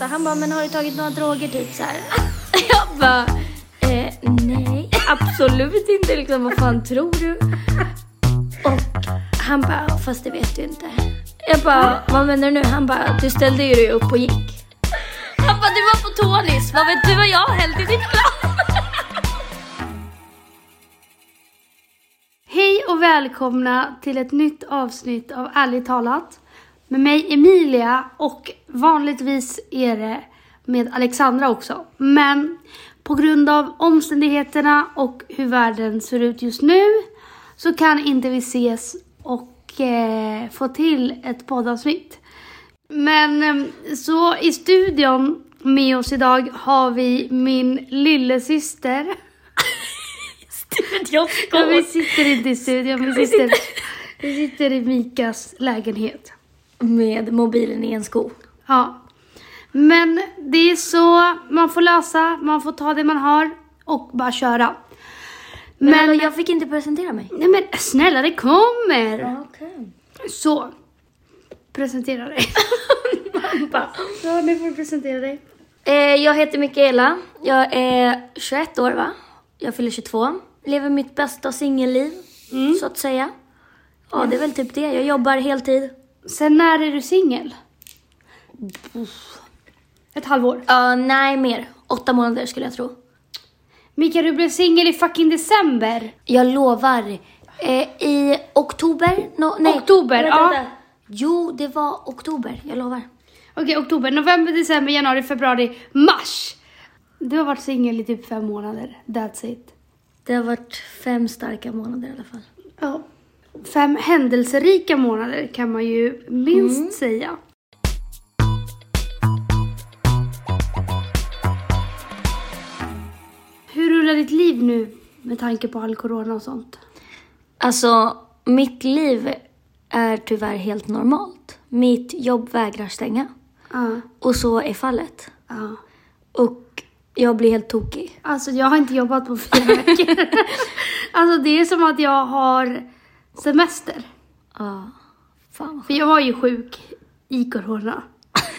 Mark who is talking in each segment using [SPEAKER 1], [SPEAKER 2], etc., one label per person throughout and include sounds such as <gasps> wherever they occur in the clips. [SPEAKER 1] här, han bara, men har du tagit några droger typ så här? <laughs> Jag bara, eh, nej, absolut inte liksom, vad fan tror du? Och han bara, fast det vet du inte. Jag bara, vad menar du nu? Han bara, du ställde ju dig upp och gick. Han bara, du var på tå nyss, vad vet du vad jag har hällt i ditt glas?
[SPEAKER 2] <laughs> Hej och välkomna till ett nytt avsnitt av Ärligt talat. Med mig Emilia och vanligtvis är det med Alexandra också. Men på grund av omständigheterna och hur världen ser ut just nu så kan inte vi ses och eh, få till ett poddavsnitt. Men eh, så i studion med oss idag har vi min lillasyster.
[SPEAKER 1] <laughs> Jag
[SPEAKER 2] Ja, vi sitter inte i studion, vi sitter, vi sitter i Mikas lägenhet.
[SPEAKER 1] Med mobilen i en sko.
[SPEAKER 2] Ja. Men det är så, man får lösa, man får ta det man har och bara köra. Men,
[SPEAKER 1] Men, jag fick inte presentera mig.
[SPEAKER 2] Nej men snälla, det kommer!
[SPEAKER 1] Okej.
[SPEAKER 2] Så. Presentera dig. ja, nu får du presentera dig.
[SPEAKER 1] Eh, jag heter Mikaela. Jag är 21 år, va? Jag fyller 22. Lever mitt bästa singelliv, så att säga. Ja, det är väl typ det. Jag jobbar heltid.
[SPEAKER 2] Sen när är du singel? Ett halvår.
[SPEAKER 1] Ja, nej, mer. Åtta månader skulle jag tro.
[SPEAKER 2] Mika, du blev singel i fucking december.
[SPEAKER 1] Jag lovar. Eh, I oktober? No, nej.
[SPEAKER 2] Oktober,
[SPEAKER 1] Vänta,
[SPEAKER 2] ja.
[SPEAKER 1] vänta. Jo, det var oktober. Jag lovar.
[SPEAKER 2] Okej, oktober, november, december, januari, februari, mars. Du har varit singel i typ fem månader. That's it.
[SPEAKER 1] Det har varit fem starka månader i alla fall.
[SPEAKER 2] Ja. Fem händelserika månader kan man ju minst säga. Hur rullar ditt liv nu med tanke på all corona och sånt?
[SPEAKER 1] Alltså, mitt liv är tyvärr helt normalt. Mitt jobb vägrar stänga.
[SPEAKER 2] Ja.
[SPEAKER 1] Och så är fallet.
[SPEAKER 2] ja.
[SPEAKER 1] Och jag blir helt tokig.
[SPEAKER 2] Alltså jag har inte jobbat på fyra veckor. alltså det är som att jag har semester.
[SPEAKER 1] Ja, fan vad
[SPEAKER 2] För jag var ju sjuk i corona.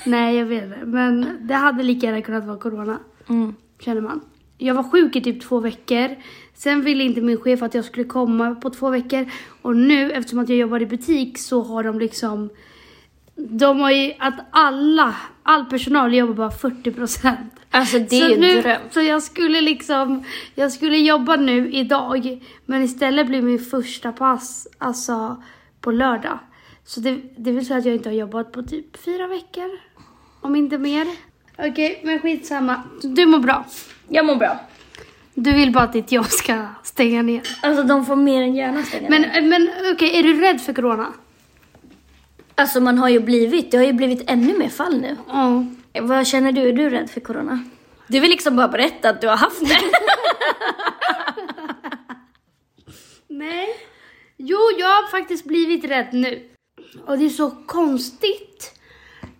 [SPEAKER 2] Nej, jag vet det. Men det hade lika gärna kunnat vara corona,
[SPEAKER 1] mm.
[SPEAKER 2] känner man. Jag var sjuk i typ två veckor. Sen ville inte min chef att jag skulle komma på två veckor. Och nu, eftersom att jag jobbar i butik, så har de liksom... De har ju att alla, all personal jobbar bara 40 procent.
[SPEAKER 1] Alltså det är
[SPEAKER 2] så,
[SPEAKER 1] ju en
[SPEAKER 2] nu,
[SPEAKER 1] dröm.
[SPEAKER 2] så jag skulle liksom, jag skulle jobba nu idag, men istället blir min första pass alltså på lördag. Så det, det vill säga att jag inte har jobbat på typ fyra veckor, om inte mer. Okej, men skitsamma. Du mår bra.
[SPEAKER 1] Jag mår bra.
[SPEAKER 2] Du vill bara att ditt jobb ska stänga ner.
[SPEAKER 1] Alltså de får mer än gärna stänga men,
[SPEAKER 2] Men, men okej, är du rädd för corona?
[SPEAKER 1] Alltså man har ju blivit, det har ju blivit ännu mer fall nu.
[SPEAKER 2] Ja.
[SPEAKER 1] Vad känner du? Är du rädd för corona? Du vill liksom bara berätta att du har haft det. <laughs>
[SPEAKER 2] Nej. Jo, jag har faktiskt blivit rädd nu. Och det är så konstigt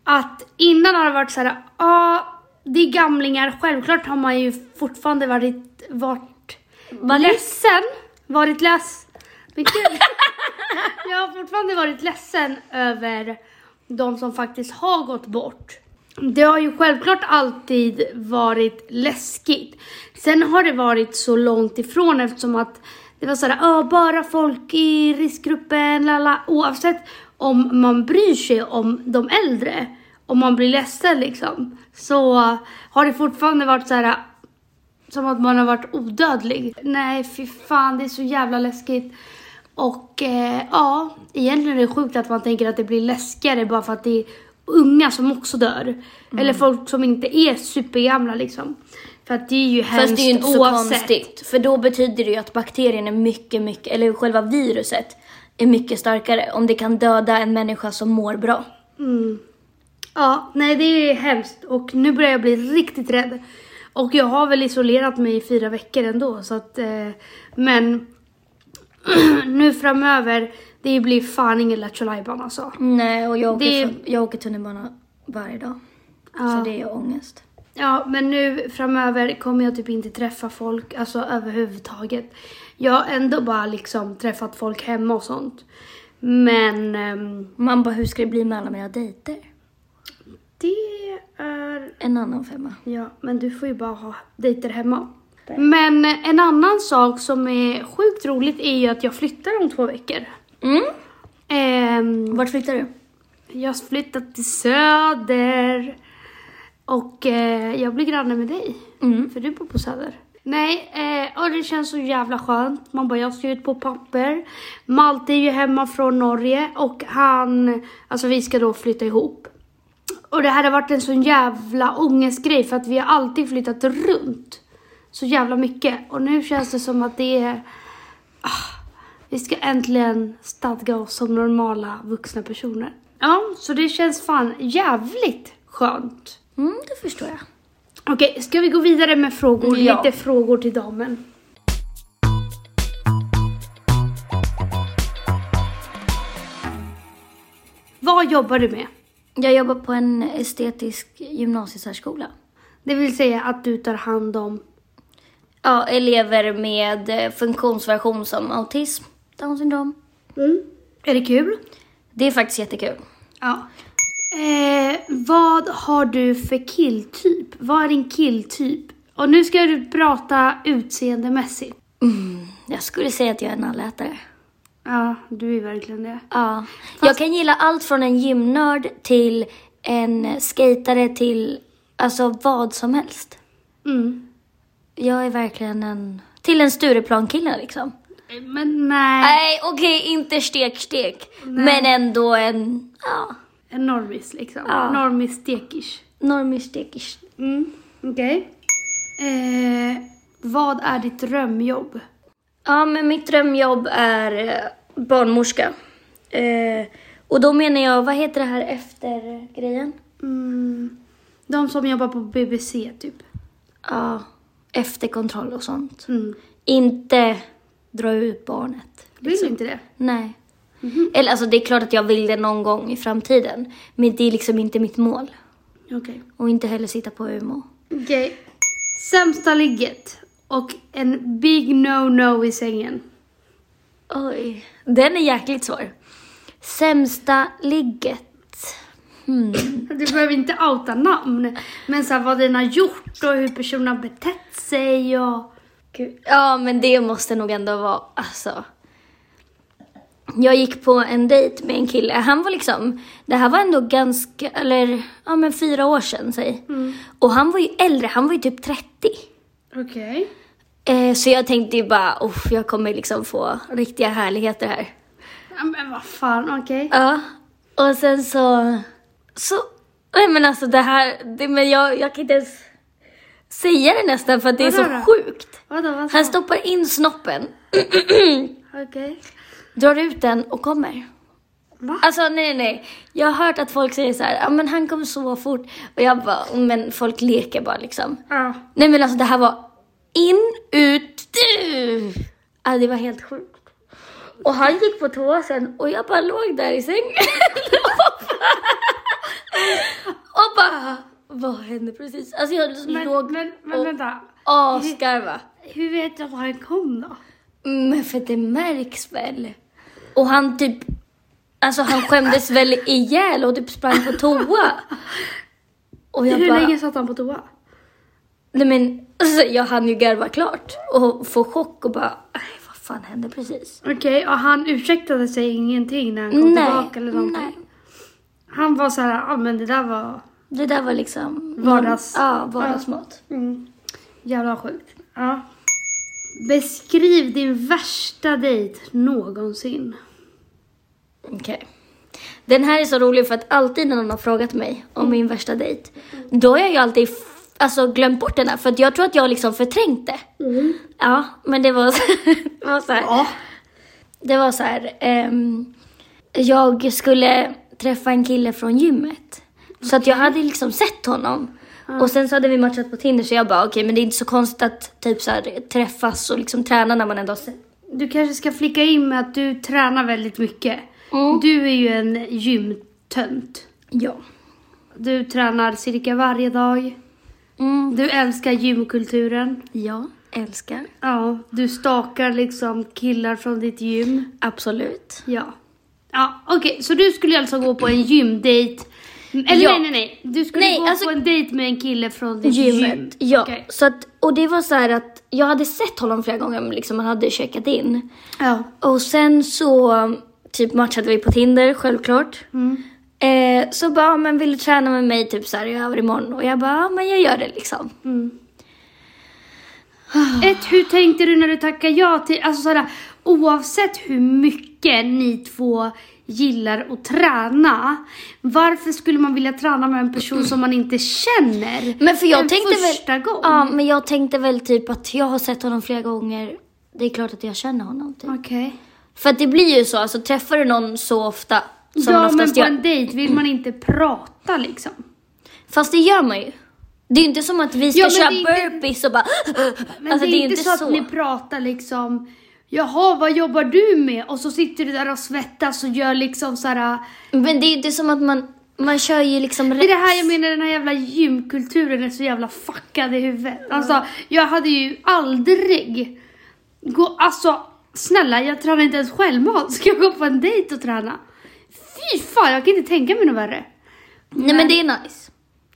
[SPEAKER 2] att innan har det varit så här, ja, ah, det är gamlingar, självklart har man ju fortfarande varit, varit
[SPEAKER 1] Vad
[SPEAKER 2] ledsen, varit less. Men gud. jag har fortfarande varit ledsen över de som faktiskt har gått bort. Det har ju självklart alltid varit läskigt. Sen har det varit så långt ifrån eftersom att det var sådär, "Ah, bara folk i riskgruppen, lala. Oavsett om man bryr sig om de äldre, om man blir ledsen liksom, så har det fortfarande varit så här, som att man har varit odödlig. Nej, fy fan, det är så jävla läskigt. Och eh, ja, egentligen är det sjukt att man tänker att det blir läskigare bara för att det är unga som också dör.
[SPEAKER 1] Mm.
[SPEAKER 2] Eller folk som inte är supergamla liksom. För att det är ju hemskt
[SPEAKER 1] Fast det är ju inte så
[SPEAKER 2] oavsett.
[SPEAKER 1] konstigt. För då betyder det ju att bakterien är mycket, mycket, eller själva viruset är mycket starkare. Om det kan döda en människa som mår bra.
[SPEAKER 2] Mm. Ja, nej det är hemskt och nu börjar jag bli riktigt rädd. Och jag har väl isolerat mig i fyra veckor ändå så att, eh, men <clears throat> nu framöver, det blir fan ingen Lattjo Lajban alltså.
[SPEAKER 1] Nej, och jag åker,
[SPEAKER 2] Det-
[SPEAKER 1] för- jag åker tunnelbana varje dag.
[SPEAKER 2] Ja.
[SPEAKER 1] Så det är ångest.
[SPEAKER 2] Ja, men nu framöver kommer jag typ inte träffa folk, alltså överhuvudtaget. Jag har ändå bara liksom träffat folk hemma och sånt. Men ehm,
[SPEAKER 1] Man bara, hur ska det bli med alla mina dejter?
[SPEAKER 2] det är för...
[SPEAKER 1] En annan femma.
[SPEAKER 2] Ja, men du får ju bara ha dejter hemma. Men eh, en annan sak som är sjukt roligt är ju att jag flyttar om två veckor.
[SPEAKER 1] Mm.
[SPEAKER 2] Ehm,
[SPEAKER 1] Vart flyttar du?
[SPEAKER 2] jag har flyttat till Söder. Och eh, jag blir granne med dig.
[SPEAKER 1] Mm.
[SPEAKER 2] För du bor på Söder. Nej, eh, och det känns så jävla skönt. Man bara, jag ska ut på papper. Malte är ju hemma från Norge och han, alltså vi ska då flytta ihop. Och det här har varit en sån jävla ångestgrej för att vi har alltid flyttat runt så jävla mycket. Och nu känns det som att det är, ah, vi ska äntligen stadga oss som normala vuxna personer. Ja, så det känns fan jävligt skönt.
[SPEAKER 1] Mm, det förstår jag.
[SPEAKER 2] Okej, ska vi gå vidare med frågor?
[SPEAKER 1] Ja.
[SPEAKER 2] Lite frågor till damen. Vad jobbar du med?
[SPEAKER 1] Jag jobbar på en estetisk gymnasiesärskola.
[SPEAKER 2] Det vill säga att du tar hand om...
[SPEAKER 1] Ja, elever med eh, funktionsvariation som autism, down syndrom.
[SPEAKER 2] Är det kul?
[SPEAKER 1] Det är faktiskt jättekul.
[SPEAKER 2] Ja. Eh, vad har du för killtyp? Vad är din killtyp? Och nu ska du prata utseendemässigt.
[SPEAKER 1] Mm, Jag skulle säga att jag är en allätare.
[SPEAKER 2] Ja, du är verkligen det.
[SPEAKER 1] Ja. Jag kan gilla allt från en gymnörd till en skatare till alltså vad som helst.
[SPEAKER 2] Mm.
[SPEAKER 1] Jag är verkligen en... Till en Stureplan-kille liksom.
[SPEAKER 2] Men nej,
[SPEAKER 1] Nej, okej, inte stek-stek. Men ändå en... Ja,
[SPEAKER 2] en normis liksom.
[SPEAKER 1] Ja.
[SPEAKER 2] Normis stekish.
[SPEAKER 1] normig stekish.
[SPEAKER 2] Mm, okej. Eh, vad är ditt drömjobb?
[SPEAKER 1] Ja, men mitt drömjobb är eh, barnmorska. Eh, och då menar jag, vad heter det här efter grejen?
[SPEAKER 2] Mm, de som jobbar på BBC typ.
[SPEAKER 1] Ja, efterkontroll och sånt.
[SPEAKER 2] Mm.
[SPEAKER 1] Inte dra ut barnet.
[SPEAKER 2] Vill du inte det?
[SPEAKER 1] Nej. Eller alltså det är klart att jag vill det någon gång i framtiden. Men det är liksom inte mitt mål.
[SPEAKER 2] Okej.
[SPEAKER 1] Och inte heller sitta på UMO.
[SPEAKER 2] Okej. Sämsta ligget och en big no-no i sängen.
[SPEAKER 1] Oj, den är jäkligt svår. Sämsta ligget. Hmm.
[SPEAKER 2] Du behöver inte outa namn, men så här, vad den har gjort och hur personen har betett sig och...
[SPEAKER 1] Gud. Ja, men det måste nog ändå vara, alltså. Jag gick på en dejt med en kille. Han var liksom, det här var ändå ganska, eller ja men fyra år sedan säg. Och han var ju äldre, han var ju typ 30.
[SPEAKER 2] Okej.
[SPEAKER 1] Eh, så jag tänkte ju bara, "Uff, jag kommer liksom få riktiga härligheter här.
[SPEAKER 2] Ja, men vad fan, okej.
[SPEAKER 1] Ja, och sen så... så nej men alltså det här, det, men jag, jag kan inte ens säga det nästan för att det är så
[SPEAKER 2] Vadå då?
[SPEAKER 1] sjukt.
[SPEAKER 2] Vadå, vad sa
[SPEAKER 1] Han stoppar in snoppen,
[SPEAKER 2] Okej.
[SPEAKER 1] drar ut den och kommer.
[SPEAKER 2] Va?
[SPEAKER 1] Alltså nej, nej, nej. Jag har hört att folk säger så här, ja men han kom så fort. Och jag bara, "Oh, men folk leker bara liksom.
[SPEAKER 2] Ja.
[SPEAKER 1] Nej men alltså det här var in, ut, du! Alltså, det var helt sjukt. Och han gick på toa sen och jag bara låg där i sängen. <laughs> och bara, vad hände precis? Alltså jag låg
[SPEAKER 2] Men, men, men
[SPEAKER 1] och
[SPEAKER 2] vänta.
[SPEAKER 1] asgarva.
[SPEAKER 2] Hur vet du att han kom då?
[SPEAKER 1] Men för det märks väl? Och han typ, alltså han skämdes väl ihjäl och typ sprang på toa. Och jag
[SPEAKER 2] Hur
[SPEAKER 1] bara,
[SPEAKER 2] länge satt han på toa?
[SPEAKER 1] Nej men alltså, jag hann ju garva klart och få chock och bara, "Aj, vad fan hände precis?
[SPEAKER 2] Okej, och han ursäktade sig ingenting när han kom tillbaka eller någonting?
[SPEAKER 1] nej.
[SPEAKER 2] Han var så här, ja ah, men det där var
[SPEAKER 1] Det där var liksom
[SPEAKER 2] Vardags-
[SPEAKER 1] Ja, vardagsmat.
[SPEAKER 2] mm, jävla sjukt. Ja. Beskriv din värsta dejt någonsin.
[SPEAKER 1] Okej. Den här är så rolig för att alltid när någon har frågat mig om min värsta dejt, då har jag ju alltid f- alltså, glömt bort den här för att jag tror att jag liksom förträngt det. Ja, men det var, det var så <laughs> här.
[SPEAKER 2] Ja.
[SPEAKER 1] Det var så här. ehm, jag skulle träffa en kille från gymmet. Så att jag hade liksom sett honom. Och sen så hade vi matchat på Tinder så jag bara okej men det är inte så konstigt att typ så här, träffas och liksom träna när man ändå har sett.
[SPEAKER 2] Du kanske ska flicka in med att du tränar väldigt mycket.
[SPEAKER 1] Mm.
[SPEAKER 2] Du är ju en gymtönt.
[SPEAKER 1] Ja.
[SPEAKER 2] Du tränar cirka varje dag.
[SPEAKER 1] Mm.
[SPEAKER 2] Du älskar gymkulturen.
[SPEAKER 1] Ja, älskar.
[SPEAKER 2] Ja, du stakar liksom killar från ditt gym.
[SPEAKER 1] Absolut.
[SPEAKER 2] Ja. Ja, okej, så du skulle alltså gå på en gymdejt Eller
[SPEAKER 1] Ja.
[SPEAKER 2] nej, nej, nej. Du skulle
[SPEAKER 1] Nej,
[SPEAKER 2] gå
[SPEAKER 1] alltså-
[SPEAKER 2] på en dejt med en kille från ditt gym.
[SPEAKER 1] gymmet. Ja,
[SPEAKER 2] Okej.
[SPEAKER 1] så att, och det var så här att jag hade sett honom flera gånger, men liksom, han hade checkat in.
[SPEAKER 2] Ja.
[SPEAKER 1] Och sen så um, typ matchade vi på Tinder, självklart.
[SPEAKER 2] Mm.
[SPEAKER 1] Eh, så bara, "Ja, men vill du träna med mig typ så här, jag över imorgon? Och jag bara, "Ja, men jag gör det liksom.
[SPEAKER 2] Mm. Ett, hur tänkte du när du tackade ja till, alltså såhär, oavsett hur mycket ni två gillar att träna, varför skulle man vilja träna med en person som man inte känner?
[SPEAKER 1] Men för jag
[SPEAKER 2] en
[SPEAKER 1] tänkte
[SPEAKER 2] första
[SPEAKER 1] väl,
[SPEAKER 2] gång.
[SPEAKER 1] Ja, men jag tänkte väl typ att jag har sett honom flera gånger. Det är klart att jag känner honom typ.
[SPEAKER 2] Okej.
[SPEAKER 1] För att det blir ju så, alltså träffar du någon så ofta som man
[SPEAKER 2] Ja, men
[SPEAKER 1] oftast
[SPEAKER 2] på
[SPEAKER 1] gör.
[SPEAKER 2] en dejt vill man inte prata liksom.
[SPEAKER 1] Fast det gör man ju. Det är ju inte som att vi ska
[SPEAKER 2] Ja, men
[SPEAKER 1] köra
[SPEAKER 2] det är inte-
[SPEAKER 1] burpees och bara...
[SPEAKER 2] Men
[SPEAKER 1] Alltså,
[SPEAKER 2] det är inte så att ni pratar liksom, jaha vad jobbar du med? Och så sitter du där och svettas och gör liksom såhär
[SPEAKER 1] Men det är ju inte som att man, man kör ju liksom
[SPEAKER 2] Det är det här jag menar, den här jävla gymkulturen är så jävla fuckad i huvudet. Alltså, jag hade ju aldrig... Gå, alltså, snälla, jag tränar inte ens självmant. <laughs> Ska jag gå på en dejt och träna? Fy fan, jag kan inte tänka mig något värre.
[SPEAKER 1] Nej men det är nice.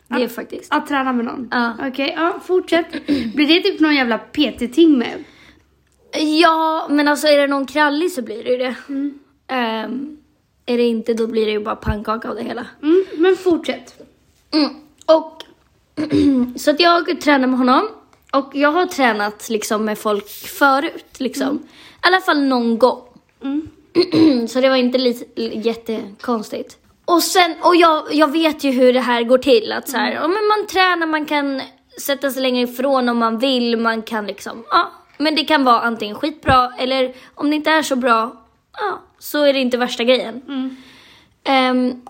[SPEAKER 1] Det är faktiskt.
[SPEAKER 2] Att träna med någon.
[SPEAKER 1] Ja.
[SPEAKER 2] Okej, ja, fortsätt. Blir det typ någon jävla PT-ting med?
[SPEAKER 1] Ja, men alltså är det någon krallig så blir det ju det. Ehm, är det inte då blir det ju bara pannkaka av det hela.
[SPEAKER 2] Mm, men fortsätt.
[SPEAKER 1] Mm. Och <clears throat> så att jag tränar med honom. Och jag har tränat liksom med folk förut. Liksom. I alla fall någon gång.
[SPEAKER 2] Mm.
[SPEAKER 1] <clears throat> så det var inte li- jättekonstigt. Och, sen, och jag, jag vet ju hur det här går till. Att så här, ja, men man tränar, man kan sätta sig längre ifrån om man vill. Man kan liksom, ja, men det kan vara antingen skitbra eller om det inte är så bra, ja, så är det inte värsta grejen.
[SPEAKER 2] mm.
[SPEAKER 1] Ehm,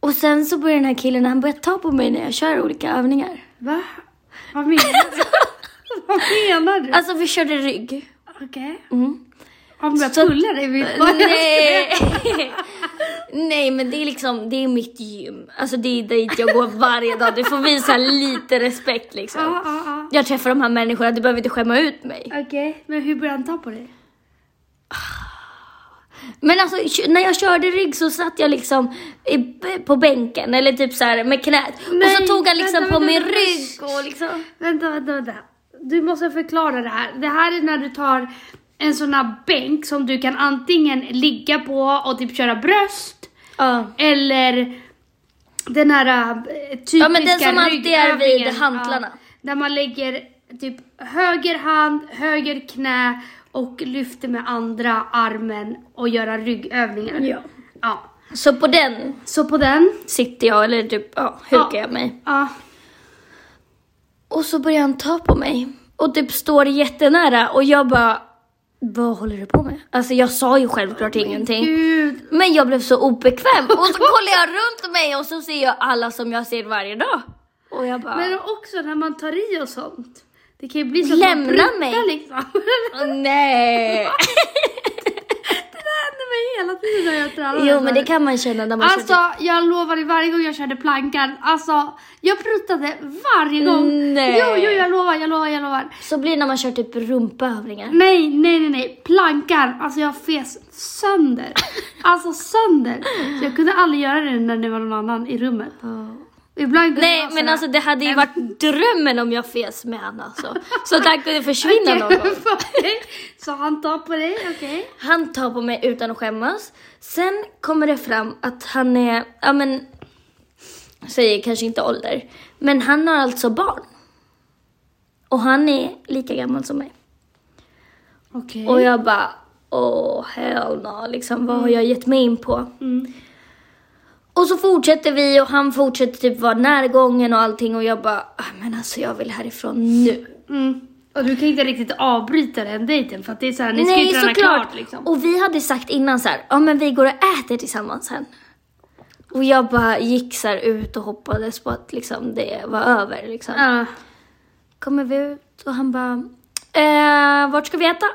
[SPEAKER 1] och sen så börjar den här killen, han börjar ta på mig när jag kör olika övningar.
[SPEAKER 2] Va? Vad menar
[SPEAKER 1] <laughs>
[SPEAKER 2] du? Vad menar du?
[SPEAKER 1] Alltså vi körde rygg.
[SPEAKER 2] Okej.
[SPEAKER 1] Mm.
[SPEAKER 2] Om jag
[SPEAKER 1] Så-
[SPEAKER 2] pullar dig vid
[SPEAKER 1] Nej. Nej men det är liksom, det är mitt gym. Alltså det är dit jag går varje dag. Du får visa lite respekt
[SPEAKER 2] Ja,
[SPEAKER 1] liksom.
[SPEAKER 2] ja, ja.
[SPEAKER 1] Jag träffar de här människorna, du behöver inte skämma ut mig.
[SPEAKER 2] Okej, men hur började han ta på dig?
[SPEAKER 1] Men alltså kö- när jag körde rygg så satt jag liksom i, på bänken eller typ så här med knät. och
[SPEAKER 2] Nej,
[SPEAKER 1] så tog han liksom
[SPEAKER 2] vänta,
[SPEAKER 1] på
[SPEAKER 2] vänta,
[SPEAKER 1] min
[SPEAKER 2] vänta.
[SPEAKER 1] rygg och liksom.
[SPEAKER 2] Vänta, vänta, vänta. Du måste förklara det här. Det här är när du tar en sån här bänk som du kan antingen ligga på och typ köra bröst
[SPEAKER 1] Ja.
[SPEAKER 2] eller den här äh, typiska
[SPEAKER 1] Ja, men den som alltid är vid
[SPEAKER 2] ryggövningen,
[SPEAKER 1] hantlarna.
[SPEAKER 2] Ja, där man lägger typ höger hand, höger knä och lyfter med andra armen och göra ryggövningar.
[SPEAKER 1] Ja.
[SPEAKER 2] ja.
[SPEAKER 1] Så på den
[SPEAKER 2] Så på den.
[SPEAKER 1] sitter jag eller typ ja, hukar
[SPEAKER 2] Ja.
[SPEAKER 1] jag mig.
[SPEAKER 2] Ja.
[SPEAKER 1] Och så börjar han ta på mig. Och typ står jättenära och jag bara, vad håller du på med? Alltså jag sa ju självklart ingenting.
[SPEAKER 2] Gud.
[SPEAKER 1] Men jag blev så obekväm. Och så kollar jag runt mig och så ser jag alla som jag ser varje dag. Och jag bara,
[SPEAKER 2] Men också när man tar i och sånt. Det kan ju bli så
[SPEAKER 1] Lämna
[SPEAKER 2] att man pruttar
[SPEAKER 1] mig.
[SPEAKER 2] liksom. <laughs>
[SPEAKER 1] "Åh, "Ah, nej.
[SPEAKER 2] det händer mig hela tiden när jag tränar.
[SPEAKER 1] Jo men det kan man känna när man kör
[SPEAKER 2] Alltså jag lovar dig varje gång jag körde plankan, alltså jag pruttade varje gång.
[SPEAKER 1] Nej.
[SPEAKER 2] Jo, jo jag lovar, jag lovar, jag lovar.
[SPEAKER 1] typ, så blir det när man kör typ rumpaövningar.
[SPEAKER 2] Nej, nej, nej, nej. Plankan, alltså jag fes sönder.
[SPEAKER 1] <laughs>
[SPEAKER 2] Alltså sönder. Så jag kunde aldrig göra det när det var någon annan i rummet. Ibland kunde jag
[SPEAKER 1] Nej
[SPEAKER 2] vara
[SPEAKER 1] men
[SPEAKER 2] sådär-
[SPEAKER 1] alltså det hade ju varit drömmen om jag fes med han alltså. Så att han kunde försvinna någon
[SPEAKER 2] <laughs>
[SPEAKER 1] gång.
[SPEAKER 2] Okej. Så han tar på dig, okej.
[SPEAKER 1] Han tar på mig utan att skämmas. Sen kommer det fram att han är, ja men, säger kanske inte ålder, men han har alltså barn. Och han är lika gammal som mig.
[SPEAKER 2] Okej.
[SPEAKER 1] Och jag bara, åh hell no, liksom vad har jag gett mig in på?
[SPEAKER 2] Mm.
[SPEAKER 1] Och så fortsätter vi och han fortsätter typ vara närgången och allting och jag bara, ah, men alltså jag vill härifrån nu.
[SPEAKER 2] Mm. Och du kan inte riktigt avbryta den dejten för att det är såhär, ni ska ju träna klart liksom.
[SPEAKER 1] Och vi hade sagt innan så här, ja men vi går och äter tillsammans sen. Och jag bara gick så här ut och hoppades på att liksom det var över. Liksom.
[SPEAKER 2] Ja.
[SPEAKER 1] Kommer vi ut och han bara, eh, vart ska vi
[SPEAKER 2] <laughs>
[SPEAKER 1] äta?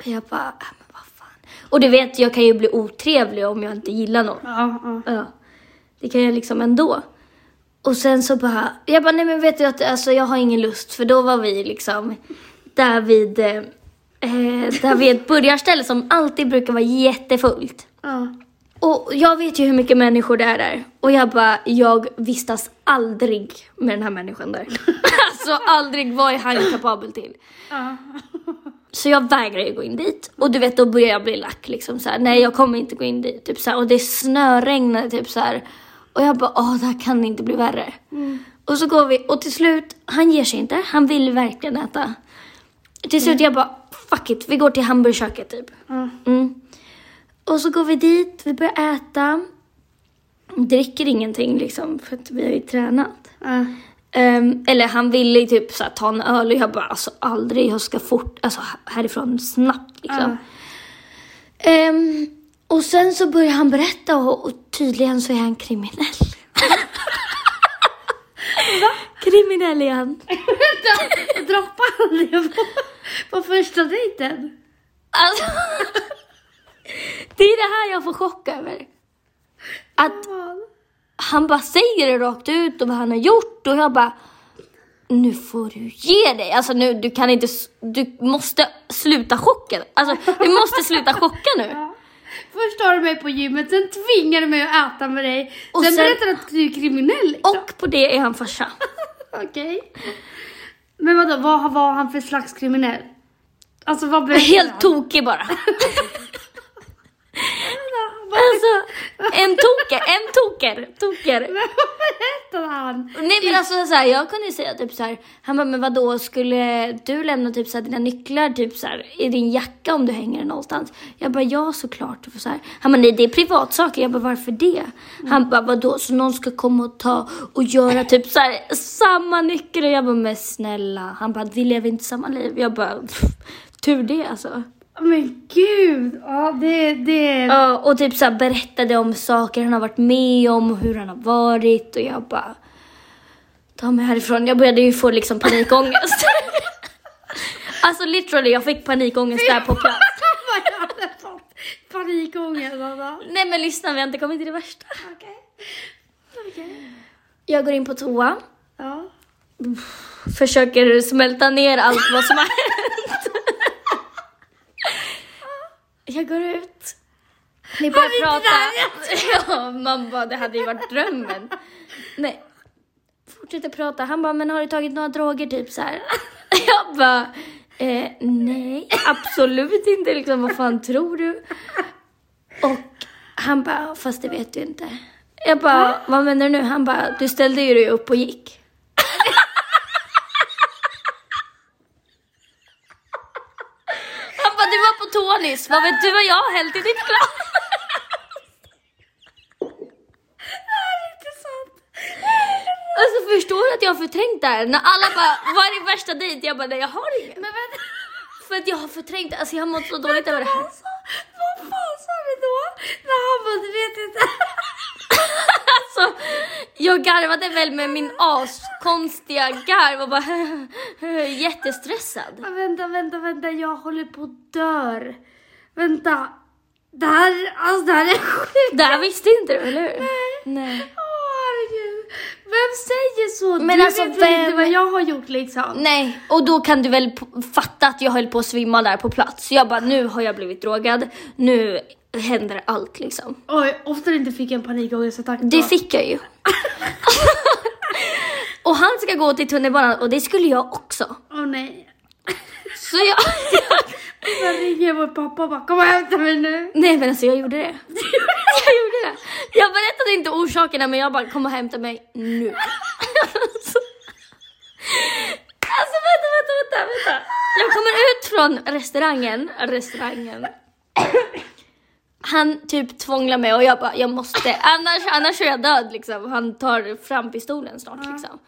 [SPEAKER 1] och jag bara, äh, men vad fan. Och du vet, jag kan ju bli otrevlig om jag inte gillar någon.
[SPEAKER 2] Ja, ja.
[SPEAKER 1] Ja, det kan jag liksom ändå. Och sen så bara, jag bara, nej men vet du att alltså, jag har ingen lust för då var vi liksom där vid, eh, eh, där vid ett burgarställe som alltid brukar vara jättefullt.
[SPEAKER 2] ja.
[SPEAKER 1] Och jag vet ju hur mycket människor det här är. Och jag bara, jag vistas aldrig med den här människan där. alltså aldrig, vad är han kapabel till?
[SPEAKER 2] Ja.
[SPEAKER 1] Så jag vägrar ju gå in dit. Och du vet, då börjar jag bli lack liksom så här. Nej, jag kommer inte gå in dit. Typ så här. Och det snöregnar typ så här. Och jag bara, åh, det här kan inte bli värre. Och så går vi och till slut, han ger sig inte. Han vill verkligen äta. Till slut jag bara, fuck it, vi går till hamburgerköket typ.
[SPEAKER 2] Mm.
[SPEAKER 1] Mm. Och så går vi dit, vi börjar äta. Dricker ingenting liksom, för att vi har ju tränat.
[SPEAKER 2] Ja.
[SPEAKER 1] Ehm, eller han ville ju typ så här, ta en öl och jag bara alltså aldrig, jag ska fort, alltså härifrån snabbt liksom. Ehm, och sen så börjar han berätta och, och tydligen så är han kriminell. kriminell är han.
[SPEAKER 2] <laughs> Vänta, droppade han det på, på första dejten?
[SPEAKER 1] Alltså, <laughs> det är det här jag får chock över. Att
[SPEAKER 2] Fan.
[SPEAKER 1] han bara säger det rakt ut och vad han har gjort och jag bara nu får du ge dig. Alltså nu, du kan inte, s- du måste sluta chocken. Alltså du måste sluta chocka nu.
[SPEAKER 2] Ja. Först har du mig på gymmet, sen tvingar du mig att äta med dig.
[SPEAKER 1] Och
[SPEAKER 2] sen,
[SPEAKER 1] sen-
[SPEAKER 2] berättar du att du är kriminell liksom.
[SPEAKER 1] Och på det är han farsa.
[SPEAKER 2] Okej. Men vadå, vad var han för slags kriminell? Alltså vad blev
[SPEAKER 1] Helt tokig bara. Alltså en toker, en toker, toker.
[SPEAKER 2] Men <laughs> vad berättade han?
[SPEAKER 1] Nej men alltså så här, jag kunde ju säga typ så här. han bara men vadå skulle du lämna typ så här, dina nycklar typ så här, i din jacka om du hänger den någonstans? Jag bara ja såklart. Och Så här. Han bara nej det är privatsaker. Jag bara varför det? Han bara vadå så någon ska komma och ta och göra typ så här, samma nyckel? Och jag bara men snälla. Han bara vi lever inte samma liv. Jag bara pff, tur det alltså.
[SPEAKER 2] Men gud, ja det, det.
[SPEAKER 1] Ja, och typ så här berättade om saker han har varit med om och hur han har varit och jag bara ta mig härifrån. Jag började ju få liksom panikångest. alltså literally, jag fick panikångest där på plats.
[SPEAKER 2] <laughs> Vad jag hade fått panikångest alltså.
[SPEAKER 1] Nej men lyssna, vi har inte kommit till det värsta.
[SPEAKER 2] Okej. Okej.
[SPEAKER 1] Jag går in på toa,
[SPEAKER 2] Ja.
[SPEAKER 1] försöker smälta ner allt vad som har hänt. Jag går ut. Vi börjar
[SPEAKER 2] Har vi inte
[SPEAKER 1] prata. <laughs> Ja, man bara, det hade ju varit drömmen. Nej. Fortsätter prata. Han bara, men har du tagit några droger? Typ så här. <laughs> Jag bara, eh, nej, absolut inte. Liksom, vad fan tror du? Och han bara, fast det vet du inte. Jag bara, vad menar du nu? Han bara, du ställde ju dig upp och gick. Han bara, du var på toa nyss. Vad vet du vad jag har hällt i ditt glas?
[SPEAKER 2] Inte sant.
[SPEAKER 1] Alltså förstår du att jag har förträngt det här? När alla bara, vad är din värsta dejt? Jag bara, nej jag har ingen.
[SPEAKER 2] Men vänta.
[SPEAKER 1] För att jag har förträngt det, alltså jag har mått så dåligt över det här.
[SPEAKER 2] Alltså, vad fan sa du då? När han bara, du vet inte.
[SPEAKER 1] Alltså, jag garvade väl med min askonstiga garv och bara <laughs> jättestressad.
[SPEAKER 2] Men Vänta, vänta, vänta, jag håller på att dör. Vänta. Det här, alltså det här är sjukt.
[SPEAKER 1] Det här visste inte du, eller hur?
[SPEAKER 2] Åh herregud. Vem säger så?
[SPEAKER 1] Men
[SPEAKER 2] du
[SPEAKER 1] alltså,
[SPEAKER 2] vet väl inte
[SPEAKER 1] vem-
[SPEAKER 2] vad jag har gjort liksom.
[SPEAKER 1] Nej, och då kan du väl p- fatta att jag höll på att svimma där på plats. Så jag bara, nu har jag blivit drogad, nu händer allt liksom.
[SPEAKER 2] Oj, ofta du inte fick en panikångestattack då.
[SPEAKER 1] Det fick jag ju. och han ska gå till tunnelbanan och det skulle jag också.
[SPEAKER 2] Åh nej.
[SPEAKER 1] Så jag...
[SPEAKER 2] Sen ringer vår pappa och bara, kom och hämta mig nu.
[SPEAKER 1] Nej men alltså jag gjorde det. <laughs> Jag gjorde det. Jag berättade inte orsakerna men jag bara kom och hämta mig nu. Alltså, alltså vänta, vänta, vänta, vänta. Jag kommer ut från restaurangen, restaurangen. Han typ tvånglar mig och jag bara, jag måste, annars, annars är jag död liksom. Han tar fram pistolen snart liksom.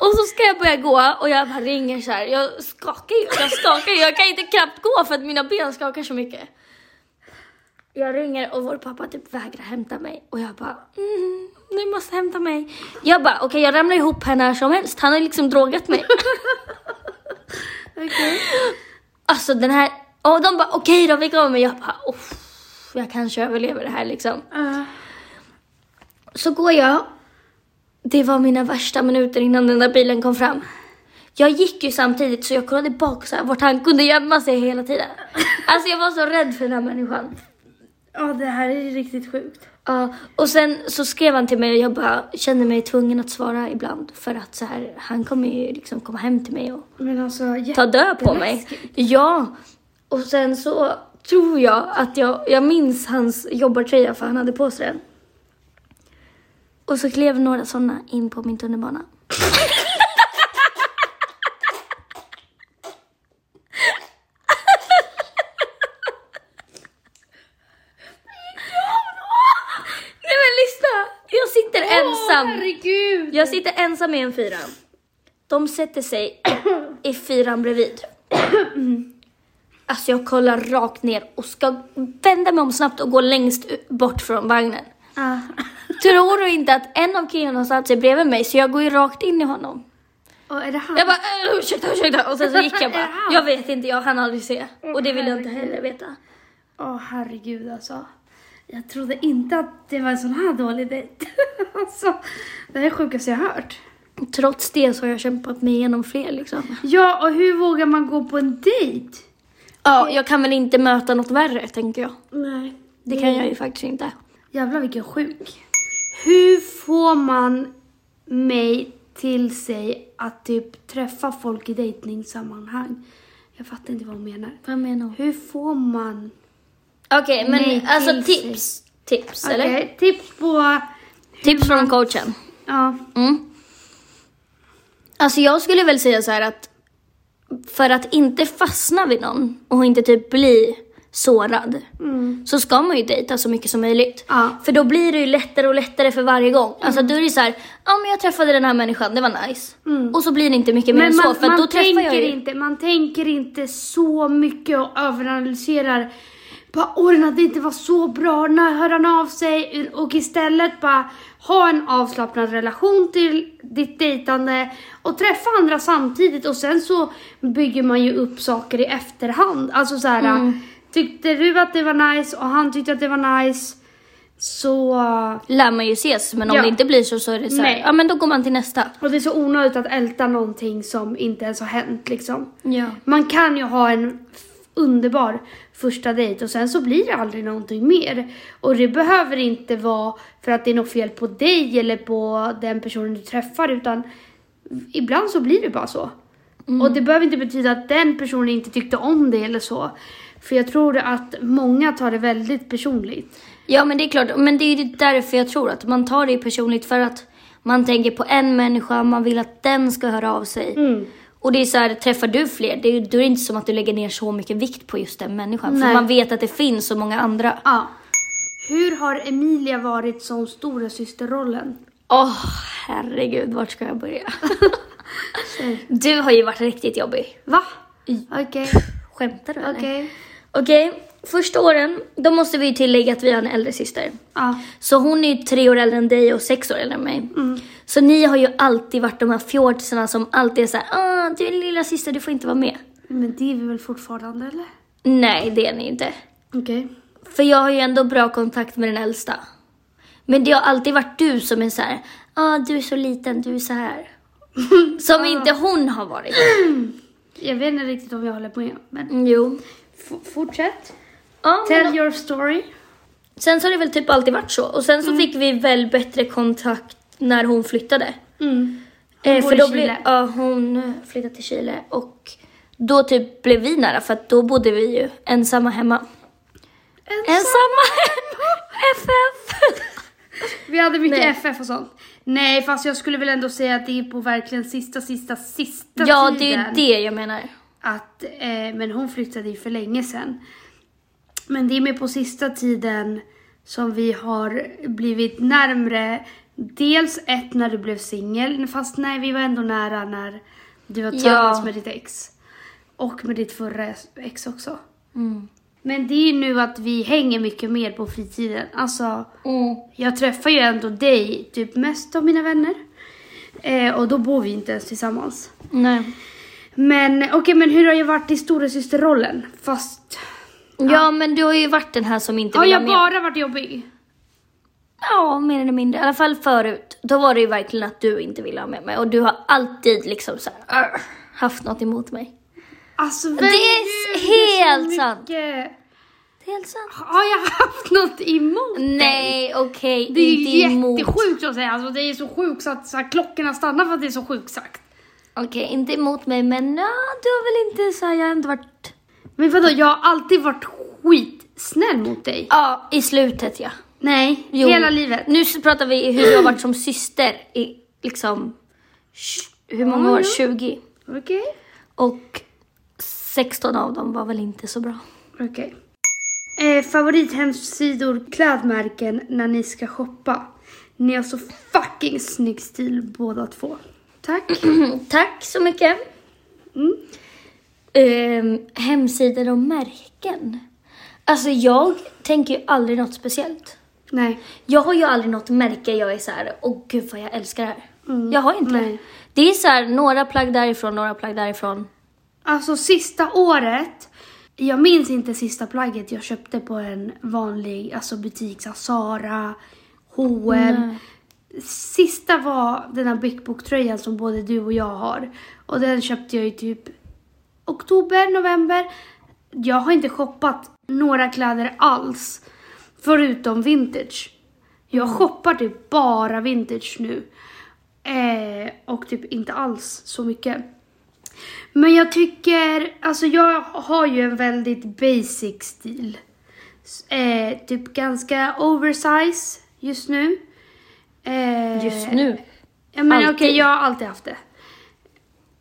[SPEAKER 1] Och så ska jag börja gå och jag bara ringer så här. Jag skakar ju, jag skakar ju. Jag kan inte knappt gå för att mina ben skakar så mycket. Jag ringer och vår pappa typ vägrar hämta mig och jag bara mm, nu måste jag hämta mig. Jag bara okej jag ramlar ihop här när som helst. Han har liksom drogat mig.
[SPEAKER 2] Okej.
[SPEAKER 1] Alltså den här, och de bara okej då vi kommer. Men jag bara oh, jag kanske överlever det här liksom.
[SPEAKER 2] Eh,
[SPEAKER 1] Så går jag. Det var mina värsta minuter innan den där bilen kom fram. Jag gick ju samtidigt så jag kollade bak så här, vart han kunde gömma sig hela tiden. Alltså jag var så rädd för den här människan.
[SPEAKER 2] Ja, det här är riktigt sjukt.
[SPEAKER 1] Ja, och sen så skrev han till mig och jag bara kände mig tvungen att svara ibland för att så här, han kommer ju liksom komma hem till mig och
[SPEAKER 2] Men alltså,
[SPEAKER 1] ta död på mig. Ja, och sen så tror jag att jag, jag minns hans jobbartröja för han hade på sig den. Och så klev några sådana in på min tunnelbana. Nej men lyssna! Jag sitter
[SPEAKER 2] ensam.
[SPEAKER 1] ensam.
[SPEAKER 2] herregud!
[SPEAKER 1] Jag sitter ensam i en fyra. De sätter sig i fyran bredvid. Alltså jag kollar rakt ner och ska vända mig om snabbt och gå längst u- bort från vagnen.
[SPEAKER 2] Ah.
[SPEAKER 1] Tror du inte att en av killarna har satt sig bredvid mig så jag går ju rakt in i honom.
[SPEAKER 2] Och är det han?
[SPEAKER 1] Jag bara "Eh, ursäkta, ursäkta och sen så gick jag bara. Jag vet inte, jag hann aldrig se.
[SPEAKER 2] Åh,
[SPEAKER 1] Och det vill jag inte
[SPEAKER 2] herregud.
[SPEAKER 1] heller veta.
[SPEAKER 2] Åh herregud alltså. Jag trodde inte att det var en sån här dålig dejt. <laughs> alltså, det här är det sjukaste jag har hört.
[SPEAKER 1] Trots det så har jag kämpat mig igenom fler liksom.
[SPEAKER 2] Ja, och hur vågar man gå på en dejt?
[SPEAKER 1] Ja, jag kan väl inte möta något värre tänker jag.
[SPEAKER 2] Nej.
[SPEAKER 1] Det kan jag ju faktiskt inte.
[SPEAKER 2] Jävlar vilken sjuk. Hur får man mig till sig att typ träffa folk i dejtningssammanhang? Jag fattar inte vad hon menar.
[SPEAKER 1] Vad menar du?
[SPEAKER 2] Hur får man...
[SPEAKER 1] Okej, men
[SPEAKER 2] Nej,
[SPEAKER 1] alltså
[SPEAKER 2] tips.
[SPEAKER 1] tips. Tips, eller?
[SPEAKER 2] Okej, tips på...
[SPEAKER 1] Tips från coachen.
[SPEAKER 2] Ja.
[SPEAKER 1] Mm. Alltså jag skulle väl säga så här att för att inte fastna vid någon och inte typ bli sårad så ska man ju dejta så mycket som möjligt.
[SPEAKER 2] Ja. Mm.
[SPEAKER 1] För då blir det ju lättare och lättare för varje gång. Alltså då är det så här, ja men jag träffade den här människan, det var nice. Och så blir det inte mycket mer
[SPEAKER 2] Mm. Men
[SPEAKER 1] än så
[SPEAKER 2] man,
[SPEAKER 1] för att
[SPEAKER 2] man,
[SPEAKER 1] då träffar
[SPEAKER 2] tänker
[SPEAKER 1] jag ju.
[SPEAKER 2] inte, man tänker inte så mycket och överanalyserar. Bara, åh den här dejten var så bra, när hör han av sig? Och istället bara ha en avslappnad relation till ditt dejtande och träffa andra samtidigt och sen så bygger man ju upp saker i efterhand. Alltså så här,
[SPEAKER 1] Mm.
[SPEAKER 2] tyckte du att det var nice och han tyckte att det var nice så...
[SPEAKER 1] Lär man ju ses men om
[SPEAKER 2] Ja.
[SPEAKER 1] det inte blir så så är det så här,
[SPEAKER 2] Nej.
[SPEAKER 1] ja men då går man till nästa.
[SPEAKER 2] Och det är så onödigt att älta någonting som inte ens har hänt liksom.
[SPEAKER 1] Ja.
[SPEAKER 2] Man kan ju ha en f- underbar första dejt och sen så blir det aldrig någonting mer. Och det behöver inte vara för att det är något fel på dig eller på den personen du träffar utan ibland så blir det bara så. Och det behöver inte betyda att den personen inte tyckte om det eller så. För jag tror att många tar det väldigt personligt.
[SPEAKER 1] Ja men det är klart, men det är ju därför jag tror att man tar det personligt för att man tänker på en människa, man vill att den ska höra av sig.
[SPEAKER 2] Mm.
[SPEAKER 1] Och det är så här, träffar du fler, det är, då är det inte som att du lägger ner så mycket vikt på just den människan.
[SPEAKER 2] Nej.
[SPEAKER 1] För man vet att det finns så många andra.
[SPEAKER 2] Ja. Hur har Emilia varit som stora systerrollen?
[SPEAKER 1] Åh herregud, vart ska jag börja?
[SPEAKER 2] <laughs>
[SPEAKER 1] du har ju varit riktigt jobbig.
[SPEAKER 2] Va? Okej.
[SPEAKER 1] Skämtar du eller?
[SPEAKER 2] Okej.
[SPEAKER 1] Okej, första åren, då måste vi ju tillägga att vi har en äldre syster.
[SPEAKER 2] Ja. mm.
[SPEAKER 1] Så hon är ju tre år äldre än dig och sex år äldre än mig. Så ni har ju alltid varit de här fjortisarna som alltid är såhär, ah, du är lilla syster, du får inte vara med.
[SPEAKER 2] Men det är vi väl fortfarande eller?
[SPEAKER 1] Nej, det är ni inte.
[SPEAKER 2] Okej.
[SPEAKER 1] För jag har ju ändå bra kontakt med den äldsta. Men det har alltid varit du som är så här, ah, du är så liten, du är så här. Som inte hon har varit.
[SPEAKER 2] Jag vet inte riktigt om jag håller med, men
[SPEAKER 1] Jo.
[SPEAKER 2] f- fortsätt.
[SPEAKER 1] Ja, men
[SPEAKER 2] Tell your story.
[SPEAKER 1] Sen så har det väl typ alltid varit så. Och sen så fick vi väl bättre kontakt när hon flyttade. Eh,
[SPEAKER 2] bor
[SPEAKER 1] för
[SPEAKER 2] i
[SPEAKER 1] då
[SPEAKER 2] Chile.
[SPEAKER 1] blev, ja, hon eh, flyttade till Chile och då typ blev vi nära för att då bodde vi ju ensamma hemma. Ensamma FF!
[SPEAKER 2] Vi hade mycket
[SPEAKER 1] Nej.
[SPEAKER 2] FF och sånt. Nej, fast jag skulle väl ändå säga att det är på verkligen sista, sista, sista
[SPEAKER 1] Ja, det är
[SPEAKER 2] tiden.
[SPEAKER 1] ju det jag menar.
[SPEAKER 2] Att, eh, men hon flyttade ju för länge sedan. Men det är med på sista tiden som vi har blivit närmre. Dels ett när du blev singel, fast nej vi var ändå nära när du var tillsammans med ditt ex. Och med ditt förra ex också.
[SPEAKER 1] Mm.
[SPEAKER 2] Men det är ju nu att vi hänger mycket mer på fritiden. Alltså, jag träffar ju ändå dig typ mest av mina vänner. Eh, och då bor vi inte ens tillsammans.
[SPEAKER 1] Nej.
[SPEAKER 2] Men okej, men hur har jag varit i storasysterrollen? Fast...
[SPEAKER 1] Ja, men du har ju varit den här som inte
[SPEAKER 2] Har
[SPEAKER 1] vill ha med.
[SPEAKER 2] jag bara varit jobbig?
[SPEAKER 1] Ja, mer eller mindre. I alla fall förut. Då var det ju verkligen att du inte ville ha med mig och du har alltid liksom så här. "Arr." haft något emot mig.
[SPEAKER 2] Alltså vem
[SPEAKER 1] Det är helt sant.
[SPEAKER 2] sant.
[SPEAKER 1] Det är helt sant.
[SPEAKER 2] Har jag haft något emot dig?
[SPEAKER 1] Nej, okej.
[SPEAKER 2] Det är ju
[SPEAKER 1] inte emot.
[SPEAKER 2] jättesjukt att säga. Alltså, det är så sjukt så att så här, klockorna stannar för att det är så sjukt sagt.
[SPEAKER 1] Okej, inte emot mig, men ja, du har väl inte så här, jag har inte varit...
[SPEAKER 2] Men vadå, jag har alltid varit skitsnäll mot dig.
[SPEAKER 1] Ja, i slutet ja.
[SPEAKER 2] Nej,
[SPEAKER 1] Jo.
[SPEAKER 2] hela livet.
[SPEAKER 1] Nu så pratar vi hur du har varit som syster i liksom... tj- Hur många
[SPEAKER 2] Ja,
[SPEAKER 1] år?
[SPEAKER 2] ja.
[SPEAKER 1] 20.
[SPEAKER 2] Okej.
[SPEAKER 1] Och 16 av dem var väl inte så bra. <clears throat>
[SPEAKER 2] Okej. Eh, favorithemsidor, klädmärken när ni ska shoppa. Ni har så fucking snygg stil båda två. Tack.
[SPEAKER 1] Tack så mycket.
[SPEAKER 2] Mm.
[SPEAKER 1] Ehm, hemsidor och märken. Alltså jag tänker ju aldrig något speciellt.
[SPEAKER 2] Nej.
[SPEAKER 1] Jag har ju aldrig något märke jag är så här, åh gud vad jag älskar det här.
[SPEAKER 2] Mm.
[SPEAKER 1] Jag har inte det.
[SPEAKER 2] Nej.
[SPEAKER 1] Det är så här, några plagg därifrån, några plagg därifrån.
[SPEAKER 2] Alltså sista året, jag minns inte sista plagget jag köpte på en vanlig alltså butik, som Zara, H&M. Sista var den här Big Book-tröjan som både du och jag har. Och den köpte jag i typ oktober, november. Jag har inte shoppat några kläder alls, förutom vintage. Jag shoppar typ bara vintage nu. Eh, och typ inte alls så mycket. Men jag tycker, alltså jag har ju en väldigt basic stil. S- Eh, typ ganska oversize just nu. Eh,
[SPEAKER 1] Just nu.
[SPEAKER 2] Ja, men okej,
[SPEAKER 1] Alltid.
[SPEAKER 2] jag har alltid haft det.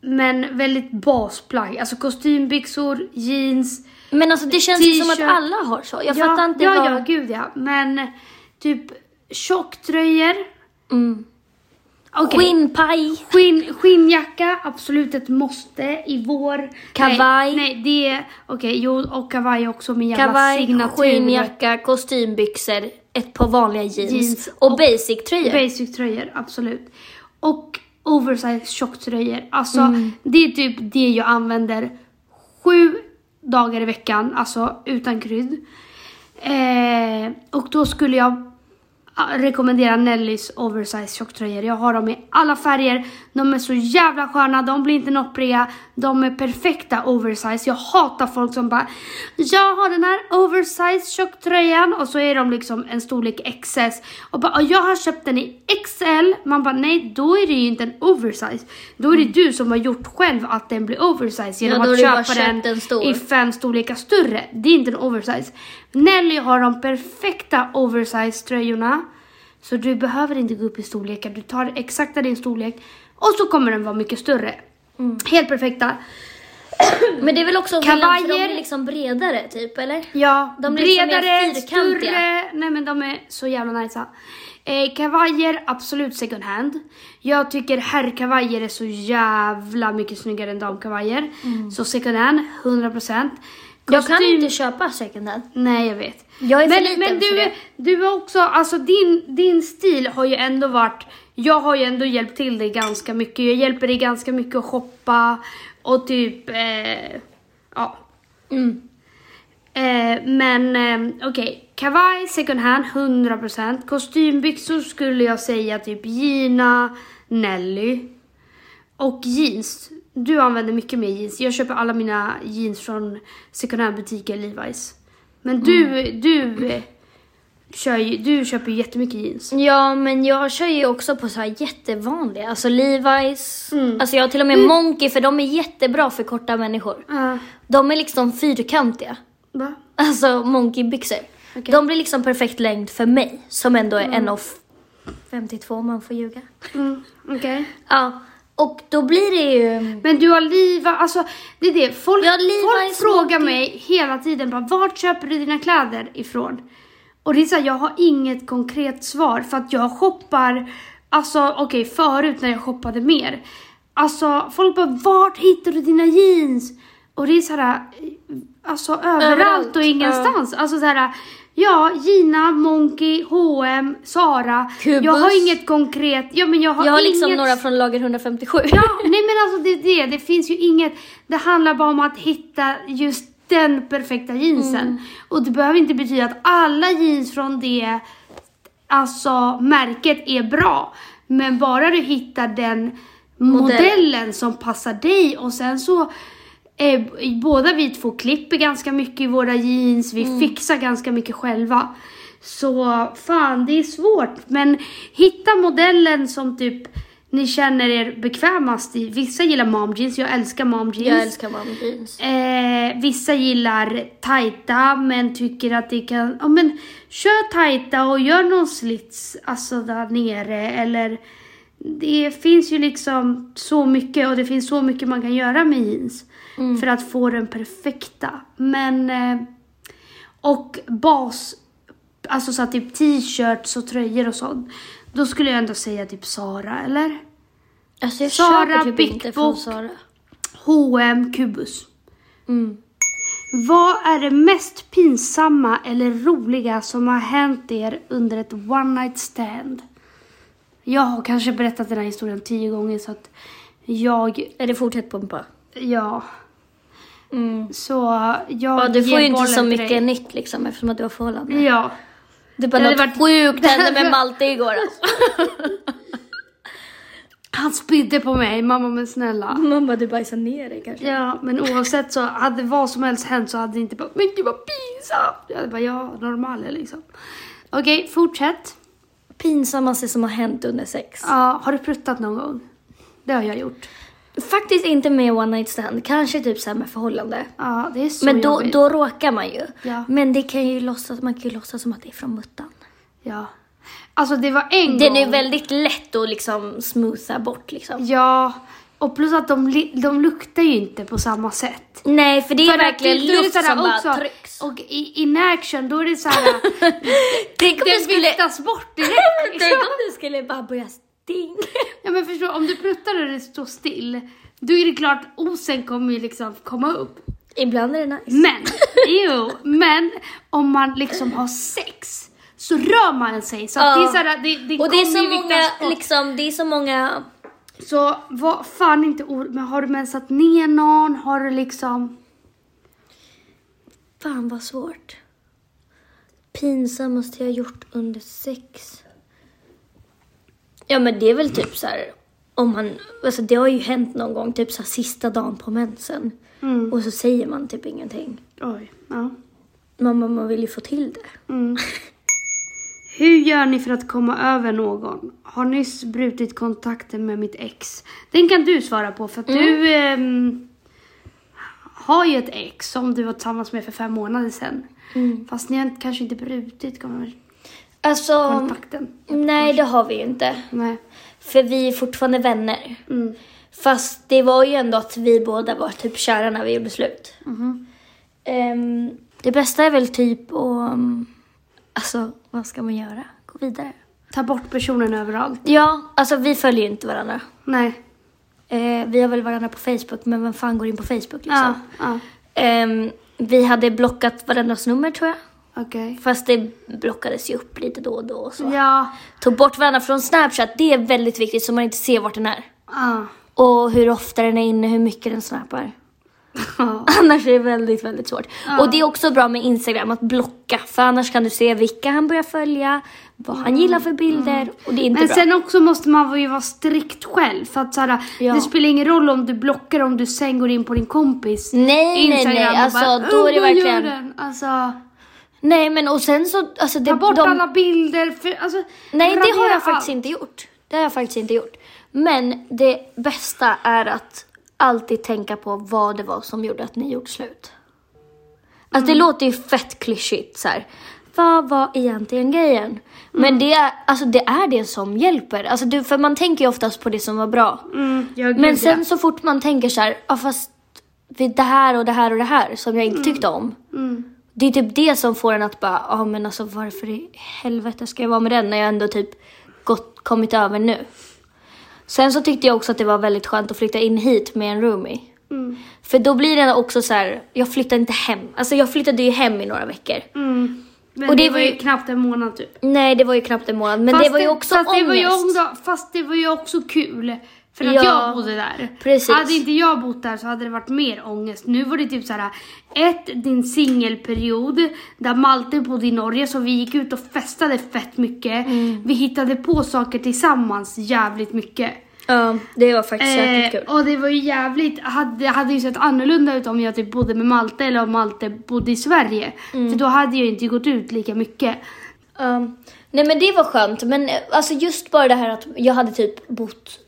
[SPEAKER 2] Men väldigt basplagg. Alltså kostymbyxor, jeans.
[SPEAKER 1] Men alltså det känns ju som att
[SPEAKER 2] T-shirt.
[SPEAKER 1] alla har så. Jag
[SPEAKER 2] ja,
[SPEAKER 1] fattar inte
[SPEAKER 2] ja,
[SPEAKER 1] vad...
[SPEAKER 2] ja, gud ja. Men typ tjocktröjor.
[SPEAKER 1] Mm.
[SPEAKER 2] Okej.
[SPEAKER 1] Skinnpaj.
[SPEAKER 2] Skinn, skinnjacka, absolut ett måste i vår.
[SPEAKER 1] Kavaj.
[SPEAKER 2] Nej, nej det är... Okej, jo, och kavaj är också min jävla
[SPEAKER 1] Kavaj,
[SPEAKER 2] signatur.
[SPEAKER 1] skinnjacka, kostymbyxor, ett par vanliga jeans,
[SPEAKER 2] Jeans
[SPEAKER 1] och,
[SPEAKER 2] och-
[SPEAKER 1] basic-tröjor.
[SPEAKER 2] Basic-tröjor, absolut. Och oversize tjocktröjor. Alltså,
[SPEAKER 1] Mm.
[SPEAKER 2] det är typ det jag använder sju dagar i veckan, alltså utan krydd. Eh, och då skulle jag ah, rekommendera Nellys oversize tjocktröjor. Jag har dem i alla färger. De är så jävla sköna, de blir inte noppriga. De är perfekta oversize. Jag hatar folk som bara “Jag har den här oversize tjocktröjan” och så är de liksom en storlek XS. Och bara "Ah, “Jag har köpt den i XL”. Man bara “Nej, då är det ju inte en oversize. Då är det du som har gjort själv att den blir oversize genom
[SPEAKER 1] Mm. Ja, då har
[SPEAKER 2] att
[SPEAKER 1] du bara
[SPEAKER 2] köpa den
[SPEAKER 1] köpt en stor."
[SPEAKER 2] i fem storlekar större. Det är inte en oversize. Nelly har de perfekta oversize tröjorna. Så du behöver inte gå upp i storlekar. Du tar exakta din storlek och så kommer den vara mycket större.
[SPEAKER 1] Mm.
[SPEAKER 2] Helt perfekta.
[SPEAKER 1] Men det är väl också Kavajer. de
[SPEAKER 2] Kavajer.
[SPEAKER 1] är liksom bredare typ, eller?
[SPEAKER 2] Ja,
[SPEAKER 1] De blir liksom mer
[SPEAKER 2] bredare,
[SPEAKER 1] fyrkantiga.
[SPEAKER 2] större. Nej men de är så jävla nice. Eh, kavajer, absolut second hand. Jag tycker herrkavajer är så jävla mycket snyggare än damkavajer. Så second hand, 100%.
[SPEAKER 1] Mm. Jag kan
[SPEAKER 2] Kostym-
[SPEAKER 1] inte köpa second hand.
[SPEAKER 2] Nej, jag vet.
[SPEAKER 1] Jag är för
[SPEAKER 2] men
[SPEAKER 1] liten
[SPEAKER 2] men du,
[SPEAKER 1] för det.
[SPEAKER 2] du har också, alltså din, din stil har ju ändå varit, jag har ju ändå hjälpt till dig ganska mycket. Jag hjälper dig ganska mycket att shoppa och typ, eh, ja.
[SPEAKER 1] Mm.
[SPEAKER 2] Eh, men eh, okej, kavaj second hand 100%. Kostymbyxor skulle jag säga typ Gina, Nelly. Och jeans. Du använder mycket mer jeans. Jag köper alla mina jeans från second hand butiker Levi's. Men du, du, eh, kör ju, du köper ju jättemycket jeans.
[SPEAKER 1] Ja, men jag kör ju också på så här jättevanliga, alltså Levi's.
[SPEAKER 2] Mm.
[SPEAKER 1] Alltså jag har till och med Monkey för de är jättebra för korta människor.
[SPEAKER 2] Uh,
[SPEAKER 1] De är liksom fyrkantiga, <laughs>
[SPEAKER 2] va?
[SPEAKER 1] alltså Monkey-byxor.
[SPEAKER 2] Okej.
[SPEAKER 1] De blir liksom perfekt längd för mig, som ändå är 1,52 om man får ljuga.
[SPEAKER 2] Mm, okej.
[SPEAKER 1] Ja, och då blir det ju...
[SPEAKER 2] Men du har Liva, alltså det är det. Folk,
[SPEAKER 1] Jag har Levi's
[SPEAKER 2] folk
[SPEAKER 1] monkey.
[SPEAKER 2] frågar mig hela tiden bara, vart köper du dina kläder ifrån? Och det är så här, jag har inget konkret svar för att jag shoppar, alltså okej förut när jag shoppade mer. Alltså folk bara, vart hittar du dina jeans? Och det är så här, eh, alltså överallt,
[SPEAKER 1] Överallt,
[SPEAKER 2] och
[SPEAKER 1] ja.
[SPEAKER 2] ingenstans. Alltså så här, ja Gina, Monkey, H&M, Sara.
[SPEAKER 1] Kubus.
[SPEAKER 2] Jag har inget konkret, ja men jag har,
[SPEAKER 1] Jag har liksom
[SPEAKER 2] inget
[SPEAKER 1] några från lager 157. <laughs>
[SPEAKER 2] Ja, nej men alltså det är det. Det finns ju inget. Det handlar bara om att hitta just den perfekta jeansen. Och det behöver inte betyda att alla jeans från det alltså märket är bra. Men bara du hittar den
[SPEAKER 1] Modell.
[SPEAKER 2] modellen som passar dig och sen så är, båda vi två klipper ganska mycket i våra jeans,
[SPEAKER 1] Mm.
[SPEAKER 2] vi fixar ganska mycket själva. Så fan, det är svårt. Men hitta modellen som typ ni känner er bekvämast i. Vissa gillar mom jeans, jag älskar mom jeans.
[SPEAKER 1] Jag älskar mom jeans.
[SPEAKER 2] Eh, vissa gillar tajta men tycker att det kan... Ja men kör tajta och gör någon slits alltså där nere eller... Det finns ju liksom så mycket och det finns så mycket man kan göra med jeans. För att få den perfekta. Men... Eh, och bas... Alltså så att typ t-shirts och tröjor och sånt. Då skulle jag ändå säga typ Sara eller?
[SPEAKER 1] Alltså jag
[SPEAKER 2] Sara
[SPEAKER 1] köper typ inte från
[SPEAKER 2] Bickbok.
[SPEAKER 1] Sara.
[SPEAKER 2] H&M Kubus.
[SPEAKER 1] Mm.
[SPEAKER 2] Vad är det mest pinsamma eller roliga som har hänt er under ett one night stand? Jag har kanske berättat den här historien tio gånger så att jag,
[SPEAKER 1] Är det fortsätt pumpa?
[SPEAKER 2] ja,
[SPEAKER 1] Mm.
[SPEAKER 2] så jag
[SPEAKER 1] Ja, du
[SPEAKER 2] ger
[SPEAKER 1] får ju inte
[SPEAKER 2] bollen
[SPEAKER 1] så
[SPEAKER 2] till
[SPEAKER 1] mycket
[SPEAKER 2] dig.
[SPEAKER 1] nytt liksom eftersom att du har förhållande.
[SPEAKER 2] Ja.
[SPEAKER 1] Det bara
[SPEAKER 2] Mm. Det
[SPEAKER 1] något
[SPEAKER 2] hade
[SPEAKER 1] varit... sjukt hände med Malte
[SPEAKER 2] <laughs>
[SPEAKER 1] igår alltså.
[SPEAKER 2] Han spydde på mig, mamma men snälla.
[SPEAKER 1] Mamma du bajsar ner dig kanske.
[SPEAKER 2] Ja, men oavsett så hade vad som helst hänt så hade det inte bara, men gud vad pinsamt. Jag hade bara, ja, normal liksom. Okej, fortsätt.
[SPEAKER 1] Pinsammaste som har hänt under sex.
[SPEAKER 2] Ja, har du pruttat någon gång? Det har jag gjort.
[SPEAKER 1] Faktiskt inte med one night stand, kanske typ så här med förhållande.
[SPEAKER 2] Ja, det är så
[SPEAKER 1] Men då,
[SPEAKER 2] jobbigt.
[SPEAKER 1] då råkar man ju.
[SPEAKER 2] Ja.
[SPEAKER 1] Men det kan ju låtsas, man kan ju låtsas som att det är från muttan.
[SPEAKER 2] Ja. Alltså det var en
[SPEAKER 1] Den
[SPEAKER 2] gång.
[SPEAKER 1] är väldigt lätt att liksom smootha bort liksom.
[SPEAKER 2] Ja. Och plus att de, li- de luktar ju inte på samma sätt.
[SPEAKER 1] Nej, för det är
[SPEAKER 2] För att
[SPEAKER 1] verkligen
[SPEAKER 2] det- då är det
[SPEAKER 1] luft
[SPEAKER 2] så här
[SPEAKER 1] som bara
[SPEAKER 2] också-
[SPEAKER 1] trycks.
[SPEAKER 2] Och i, in action, då är det
[SPEAKER 1] <laughs>
[SPEAKER 2] så här.
[SPEAKER 1] Tänk om, det
[SPEAKER 2] den
[SPEAKER 1] skulle,
[SPEAKER 2] viftas bort direkt.
[SPEAKER 1] <laughs> tänk
[SPEAKER 2] liksom.
[SPEAKER 1] om det skulle bara börja stinka.
[SPEAKER 2] ja men förstå, om du pruttar och det står still. Då är det klart osen kommer ju liksom komma upp.
[SPEAKER 1] Ibland är det nice. <laughs>
[SPEAKER 2] Men, jo, men om man liksom har sex så rör man sig. Så att det är så här, det, det
[SPEAKER 1] och det är
[SPEAKER 2] kommer
[SPEAKER 1] så
[SPEAKER 2] ju
[SPEAKER 1] många,
[SPEAKER 2] viftas bort.
[SPEAKER 1] liksom, det är så många...
[SPEAKER 2] Så vad fan inte or- men har du mensat ner någon? Har du liksom...
[SPEAKER 1] Fan vad svårt. Pinsammaste jag gjort under sex. Ja men det är väl typ så här. Om man, alltså det har ju hänt någon gång, typ så här, sista dagen på mensen.
[SPEAKER 2] Mm.
[SPEAKER 1] Och så säger man typ ingenting.
[SPEAKER 2] Oj. Ja.
[SPEAKER 1] Men man, man vill ju få till det.
[SPEAKER 2] Mm. Hur gör ni för att komma över någon? Har nyss brutit kontakten med mitt ex. Den kan du svara på för att du ehm, har ju ett ex som du var tillsammans med för fem månader sedan.
[SPEAKER 1] Mm.
[SPEAKER 2] Fast ni har inte- kanske inte brutit kon-
[SPEAKER 1] Alltså,
[SPEAKER 2] kontakten.
[SPEAKER 1] nej det har vi ju inte.
[SPEAKER 2] Nej.
[SPEAKER 1] För vi är fortfarande vänner.
[SPEAKER 2] Mm.
[SPEAKER 1] Fast det var ju ändå att vi båda var typ kära när vi gjorde slut. Ehm, det bästa är väl typ att... Um, alltså, vad ska man göra? Gå vidare.
[SPEAKER 2] Ta bort personen överallt.
[SPEAKER 1] Ja, alltså vi följer ju inte varandra.
[SPEAKER 2] Nej.
[SPEAKER 1] Eh, vi har väl varandra på Facebook, men vem fan går in på Facebook liksom?
[SPEAKER 2] Ja. ja.
[SPEAKER 1] Ehm, vi hade blockat varandras nummer tror jag.
[SPEAKER 2] Okej.
[SPEAKER 1] Fast det blockades ju upp lite då och då och så.
[SPEAKER 2] Ja.
[SPEAKER 1] Tog bort varandra från Snapchat, det är väldigt viktigt så man inte ser vart den är.
[SPEAKER 2] Ja.
[SPEAKER 1] Och hur ofta den är inne, hur mycket den snappar.
[SPEAKER 2] Ja.
[SPEAKER 1] <laughs> Annars är det väldigt, väldigt svårt. Och det är också bra med Instagram, att blocka. För annars kan du se vilka han börjar följa, vad han gillar för bilder. Och det är inte
[SPEAKER 2] Men
[SPEAKER 1] bra.
[SPEAKER 2] sen också måste man ju vara strikt själv. För att så här,
[SPEAKER 1] Ja.
[SPEAKER 2] det spelar ingen roll om du blockar om du sen går in på din kompis
[SPEAKER 1] nej, nej, nej.
[SPEAKER 2] och
[SPEAKER 1] Alltså,
[SPEAKER 2] bara,
[SPEAKER 1] då är
[SPEAKER 2] "Åh,
[SPEAKER 1] det
[SPEAKER 2] vad gör
[SPEAKER 1] verkligen...
[SPEAKER 2] den?" Alltså,
[SPEAKER 1] Nej, men och sen så... Alltså, det,
[SPEAKER 2] ta bort
[SPEAKER 1] de,
[SPEAKER 2] alla bilder. För, alltså,
[SPEAKER 1] nej, det har
[SPEAKER 2] radera
[SPEAKER 1] jag faktiskt
[SPEAKER 2] allt.
[SPEAKER 1] inte gjort. Det har jag faktiskt inte gjort. Men det bästa är att alltid tänka på vad det var som gjorde att ni gjorde slut. Alltså det låter ju fett klyschigt så här. Vad var egentligen grejen? Men det är, alltså, det är det som hjälper. Alltså, du, för man tänker ju oftast på det som var bra.
[SPEAKER 2] Mm, ja, gud,
[SPEAKER 1] Men sen så fort man tänker så här, ja fast vid det här och det här och det här som jag inte tyckte om.
[SPEAKER 2] ja. Mm.
[SPEAKER 1] Det är typ det som får en att bara, ja men alltså varför i helvete ska jag vara med den när jag ändå typ gått, kommit över nu. Sen så tyckte jag också att det var väldigt skönt att flytta in hit med en roomie.
[SPEAKER 2] Mm.
[SPEAKER 1] För då blir det också så här, jag flyttar inte hem. Alltså jag flyttade ju hem i några veckor.
[SPEAKER 2] Mm. Men
[SPEAKER 1] Och
[SPEAKER 2] det,
[SPEAKER 1] det
[SPEAKER 2] var
[SPEAKER 1] var
[SPEAKER 2] ju
[SPEAKER 1] ju-
[SPEAKER 2] knappt en månad typ.
[SPEAKER 1] Nej det var ju knappt en månad, men det var ju också
[SPEAKER 2] fast
[SPEAKER 1] ångest.
[SPEAKER 2] det var ju ångest. Fast det var ju också kul. För att
[SPEAKER 1] Ja,
[SPEAKER 2] jag bodde där.
[SPEAKER 1] precis.
[SPEAKER 2] Hade inte jag bott där så hade det varit mer ångest. Nu var det typ så här. Ett, din singelperiod. Där Malte bodde i Norge så vi gick
[SPEAKER 1] Mm.
[SPEAKER 2] ut och festade fett mycket. Vi hittade på saker tillsammans jävligt mycket.
[SPEAKER 1] Ja, det var faktiskt jäkligt
[SPEAKER 2] Eh,
[SPEAKER 1] kul.
[SPEAKER 2] och det var ju jävligt, hade- det hade ju sett annorlunda ut om jag typ bodde med Malte eller om Malte bodde i Sverige.
[SPEAKER 1] Mm.
[SPEAKER 2] För då hade jag inte gått ut lika mycket.
[SPEAKER 1] Ja. Ehm, nej men det var skönt. Men eh, alltså just bara det här att jag hade typ bott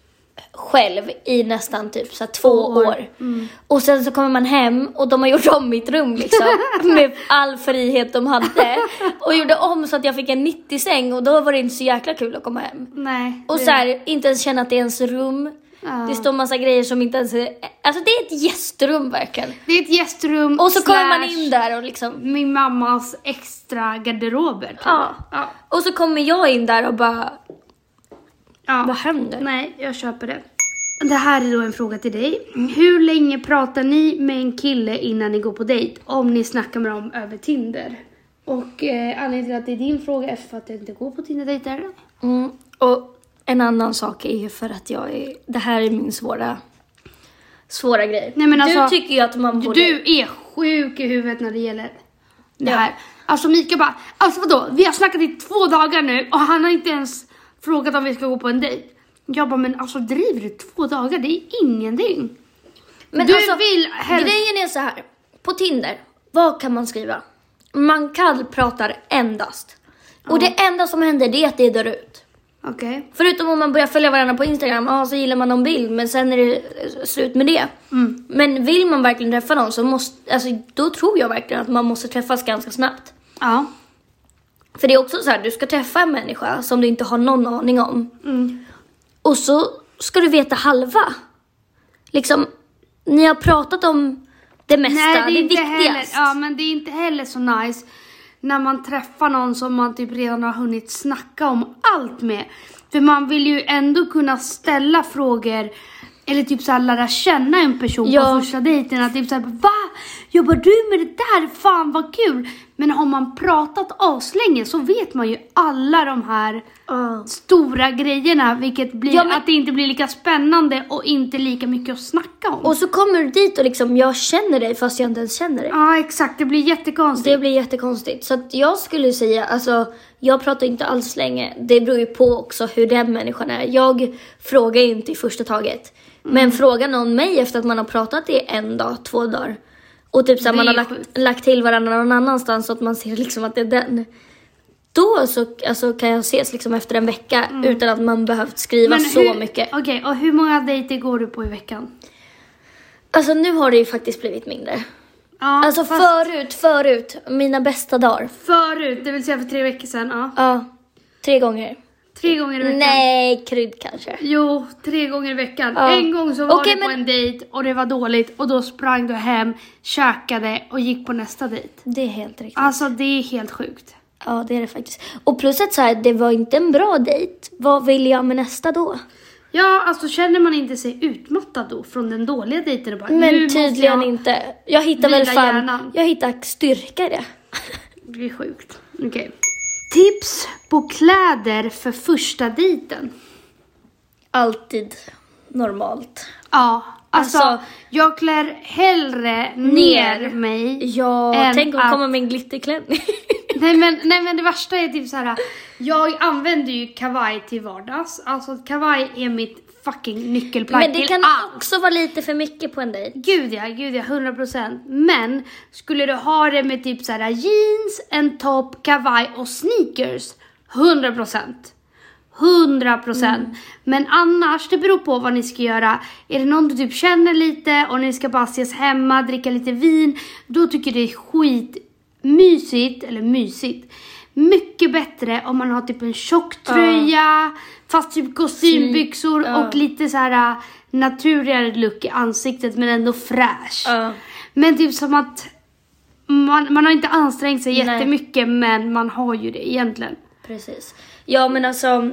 [SPEAKER 1] själv i nästan typ så här två
[SPEAKER 2] år. Mm.
[SPEAKER 1] år. Och sen så kommer man hem och de har gjort om mitt rum
[SPEAKER 2] <laughs>
[SPEAKER 1] liksom. med all frihet de hade. Och gjorde om så att jag fick en 90-säng och då var det inte så jäkla kul att komma hem.
[SPEAKER 2] Nej.
[SPEAKER 1] Och
[SPEAKER 2] det-
[SPEAKER 1] så här, inte ens känna att det är ens rum.
[SPEAKER 2] Ja.
[SPEAKER 1] Det står massa grejer som inte ens är... Alltså det är ett gästrum verkligen.
[SPEAKER 2] Det är ett gästrum
[SPEAKER 1] Och så kommer man
[SPEAKER 2] slash
[SPEAKER 1] in där och liksom...
[SPEAKER 2] Min mammas extra garderober. typ.
[SPEAKER 1] Ja.
[SPEAKER 2] ja.
[SPEAKER 1] Och så kommer jag in där och bara...
[SPEAKER 2] Ja.
[SPEAKER 1] Vad händer?
[SPEAKER 2] Nej, jag köper det. Det här är då en fråga till dig. Hur länge pratar ni med en kille innan ni går på dejt? Om ni snackar med dem över Tinder. Och eh, anledningen till att det är din fråga är för att jag inte går på Tinder-dejter.
[SPEAKER 1] Mm. Och en annan sak är ju för att jag är... Det här är min svåra... Svåra grej.
[SPEAKER 2] Nej, men alltså-
[SPEAKER 1] du tycker ju att man borde...
[SPEAKER 2] Du är sjuk i huvudet när det gäller det här. Alltså Mika bara, alltså vadå? Vi har snackat i två dagar nu och han har inte ens frågat om vi ska gå på en dejt. Jag bara, men alltså driver du två dagar? Det är ingenting.
[SPEAKER 1] men alltså,
[SPEAKER 2] du vill helst-
[SPEAKER 1] Grejen är så här. På Tinder, vad kan man skriva? Man kallpratar endast. Och det enda som händer det är att det dör ut.
[SPEAKER 2] Okej.
[SPEAKER 1] Förutom om man börjar följa varandra på Instagram, ja, så gillar man någon bild men sen är det eh, slut med det.
[SPEAKER 2] Mm.
[SPEAKER 1] Men vill man verkligen träffa någon så måste, alltså, då tror jag verkligen att man måste träffas ganska snabbt.
[SPEAKER 2] Ja.
[SPEAKER 1] För det är också så här, du ska träffa en människa som du inte har någon aning om.
[SPEAKER 2] Mm.
[SPEAKER 1] Och så ska du veta halva. Liksom, ni har pratat om det mesta, det, är
[SPEAKER 2] inte heller,
[SPEAKER 1] viktigast.
[SPEAKER 2] ja, men det är inte heller så nice när man träffar någon som man typ redan har hunnit snacka om allt med. För man vill ju ändå kunna ställa frågor eller typ såhär lära känna en person på
[SPEAKER 1] Ja.
[SPEAKER 2] första dejten. Att typ såhär, va? Jobbar du med det där? Fan vad kul! Men har man pratat aslänge så vet man ju alla de här
[SPEAKER 1] Ja.
[SPEAKER 2] stora grejerna vilket blir
[SPEAKER 1] Ja, men-
[SPEAKER 2] att det inte blir lika spännande och inte lika mycket att snacka om.
[SPEAKER 1] Och så kommer du dit och liksom, jag känner dig fast jag inte ens känner dig.
[SPEAKER 2] Ja exakt, det blir jättekonstigt.
[SPEAKER 1] Det blir jättekonstigt. Så att jag skulle säga, alltså jag pratar inte alls länge. Det beror ju på också hur den människan är. Jag frågar ju inte i första taget.
[SPEAKER 2] Mm.
[SPEAKER 1] Men frågar någon mig efter att man har pratat i en dag, två dagar. Och typ såhär
[SPEAKER 2] Det
[SPEAKER 1] man
[SPEAKER 2] är
[SPEAKER 1] har
[SPEAKER 2] ju
[SPEAKER 1] lagt, lagt till varandra någon annanstans så att man ser <laughs> liksom att det är den. Då så alltså, kan jag ses liksom efter en vecka utan att man behövt skriva så
[SPEAKER 2] Mm. hur,
[SPEAKER 1] mycket.
[SPEAKER 2] Okej, och hur många dejter går du på i veckan?
[SPEAKER 1] Alltså nu har det ju faktiskt blivit mindre.
[SPEAKER 2] Ja,
[SPEAKER 1] Alltså
[SPEAKER 2] fast
[SPEAKER 1] förut, förut, mina bästa dagar.
[SPEAKER 2] förut, det vill säga för tre veckor sedan. Ja.
[SPEAKER 1] Ja, tre gånger.
[SPEAKER 2] Tre gånger i veckan.
[SPEAKER 1] Nej, krydd kanske.
[SPEAKER 2] Jo, tre gånger i veckan.
[SPEAKER 1] Ja.
[SPEAKER 2] En gång så var
[SPEAKER 1] Okej,
[SPEAKER 2] du på
[SPEAKER 1] men-
[SPEAKER 2] en dejt och det var dåligt och då sprang du hem, käkade och gick på nästa dejt.
[SPEAKER 1] Det är helt riktigt.
[SPEAKER 2] Alltså det är helt sjukt.
[SPEAKER 1] Ja, det är det faktiskt. Och plus att så här, det var inte en bra dejt. Vad vill jag med nästa då?
[SPEAKER 2] Ja, alltså känner man inte sig utmattad då från den dåliga dejten och bara
[SPEAKER 1] Men
[SPEAKER 2] nu måste
[SPEAKER 1] tydligen
[SPEAKER 2] jag...
[SPEAKER 1] inte. Jag hittar väl
[SPEAKER 2] vila
[SPEAKER 1] fan,
[SPEAKER 2] hjärnan.
[SPEAKER 1] jag hittar styrka i det.
[SPEAKER 2] Det är sjukt. Okej. Tips på kläder för första dejten.
[SPEAKER 1] Alltid normalt.
[SPEAKER 2] Ja, alltså,
[SPEAKER 1] Alltså-
[SPEAKER 2] jag klär hellre ner,
[SPEAKER 1] Ner.
[SPEAKER 2] mig.
[SPEAKER 1] Ja,
[SPEAKER 2] än
[SPEAKER 1] tänk
[SPEAKER 2] att-
[SPEAKER 1] att komma med en glitterklänning.
[SPEAKER 2] Nej men, nej men det värsta är typ så här. jag använder ju kavaj till vardags. Alltså kavaj är mitt fucking nyckelplagg
[SPEAKER 1] Men det
[SPEAKER 2] till
[SPEAKER 1] kan
[SPEAKER 2] allt.
[SPEAKER 1] också vara lite för mycket på en dejt.
[SPEAKER 2] Gud ja, gud ja, 100%. Men skulle du ha det med typ så här jeans, en topp, kavaj och sneakers, 100%. 100%.
[SPEAKER 1] Mm.
[SPEAKER 2] Men annars, det beror på vad ni ska göra. Är det någon du typ känner lite och ni ska bara ses hemma, dricka lite vin, då tycker jag det är skitmysigt, eller mysigt, mycket bättre om man har typ en tjock tröja, fast typ kostymbyxor
[SPEAKER 1] Typ, Ja.
[SPEAKER 2] och lite så här äh, naturligare look i ansiktet men ändå fräsch.
[SPEAKER 1] Ja.
[SPEAKER 2] Men typ som att man, man har inte ansträngt sig
[SPEAKER 1] Nej.
[SPEAKER 2] jättemycket men man har ju det egentligen.
[SPEAKER 1] Precis. Ja, men alltså...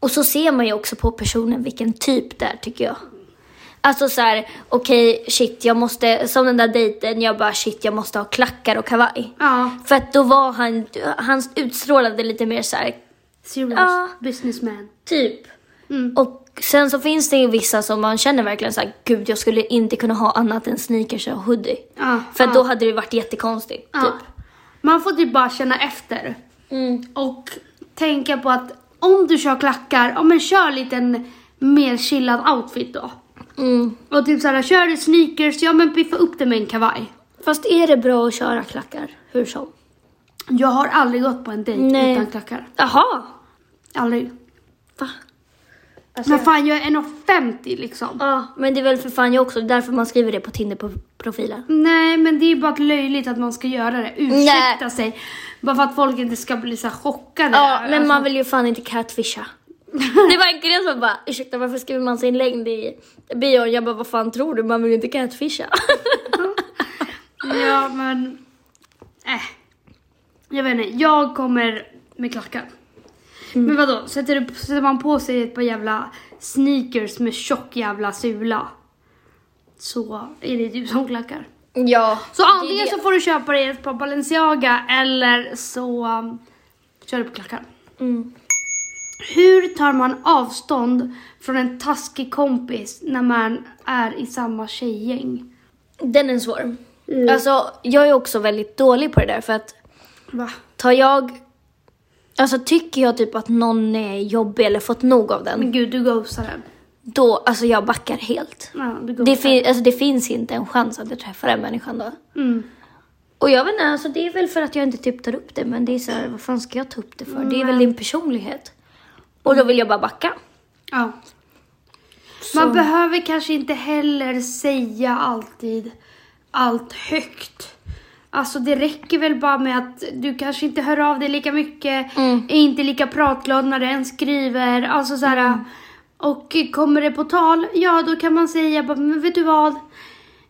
[SPEAKER 1] Och så ser man ju också på personen vilken typ det är, tycker jag. Alltså så här, okej, shit, jag måste... Som den där dejten, jag bara shit, jag måste ha klackar och kavaj.
[SPEAKER 2] Ja,
[SPEAKER 1] För att då var han... Han utstrålade lite mer så här,
[SPEAKER 2] serious
[SPEAKER 1] Ja.
[SPEAKER 2] businessman.
[SPEAKER 1] typ.
[SPEAKER 2] Mm.
[SPEAKER 1] Och sen så finns det ju vissa som man känner verkligen så här, gud, jag skulle inte kunna ha annat än sneakers och hoodie.
[SPEAKER 2] Ja,
[SPEAKER 1] För
[SPEAKER 2] ja,
[SPEAKER 1] att då hade det varit jättekonstigt,
[SPEAKER 2] ja.
[SPEAKER 1] typ.
[SPEAKER 2] Man får typ bara känna efter
[SPEAKER 1] Mm.
[SPEAKER 2] och tänka på att om du kör klackar, ja men kör en liten mer chillad outfit då.
[SPEAKER 1] Mm.
[SPEAKER 2] Och typ såhär, kör du sneakers, ja men piffa upp det med en kavaj.
[SPEAKER 1] Fast är det bra att köra klackar hur som?
[SPEAKER 2] Jag har aldrig gått på en dejt
[SPEAKER 1] Nej.
[SPEAKER 2] utan klackar.
[SPEAKER 1] Jaha!
[SPEAKER 2] Aldrig.
[SPEAKER 1] Va? Alltså-
[SPEAKER 2] Men fan jag är 1,50 liksom.
[SPEAKER 1] Ja, men det är väl för fan jag också. Det är därför man skriver det på Tinder-profilen.
[SPEAKER 2] Nej men det är bara löjligt att man ska göra det. Ursäkta
[SPEAKER 1] Nej.
[SPEAKER 2] sig. Bara för att folk inte ska bli så här chockade.
[SPEAKER 1] Ja, men
[SPEAKER 2] Alltså,
[SPEAKER 1] man vill ju fan inte <laughs> catfisha. Det var en kille som bara, ursäkta varför skriver man sin längd i bion? Jag bara, vad fan tror du? Man vill ju inte catfisha.
[SPEAKER 2] Ja men... Äh. Jag vet inte, jag kommer med klackar.
[SPEAKER 1] Mm.
[SPEAKER 2] Men vadå, sätter, du, sätter man på sig ett par jävla sneakers med tjock jävla sula. Så är det du som klackar.
[SPEAKER 1] <laughs> ja.
[SPEAKER 2] Så antingen
[SPEAKER 1] det.
[SPEAKER 2] så får du köpa dig ett par Balenciaga eller så um, kör du på klackar.
[SPEAKER 1] Mm.
[SPEAKER 2] Hur tar man avstånd från en taskig kompis när man är i samma tjejgäng?
[SPEAKER 1] Den är svår. Alltså, jag är också väldigt dålig på det där för att
[SPEAKER 2] Va?
[SPEAKER 1] tar jag... Alltså tycker jag typ att någon är jobbig eller fått nog av den,
[SPEAKER 2] Men gud, du ghostar den.
[SPEAKER 1] då, alltså jag backar helt.
[SPEAKER 2] Ja, du
[SPEAKER 1] Det,
[SPEAKER 2] ghostar.
[SPEAKER 1] fin- alltså, det finns inte en chans att jag träffar den människan då.
[SPEAKER 2] Mm.
[SPEAKER 1] Och jag vet inte, alltså det är väl för att jag inte typ tar upp det, men det är så här, vad fan ska jag ta upp det för? Det är väl din personlighet. Och då vill jag bara backa.
[SPEAKER 2] Ja. Man behöver kanske inte heller säga alltid allt högt. Alltså det räcker väl bara med att du kanske inte hör av dig lika mycket,
[SPEAKER 1] Mm.
[SPEAKER 2] är inte lika pratglad när du än skriver. Alltså så här, Och kommer det på tal, ja då kan man säga bara, men vet du vad?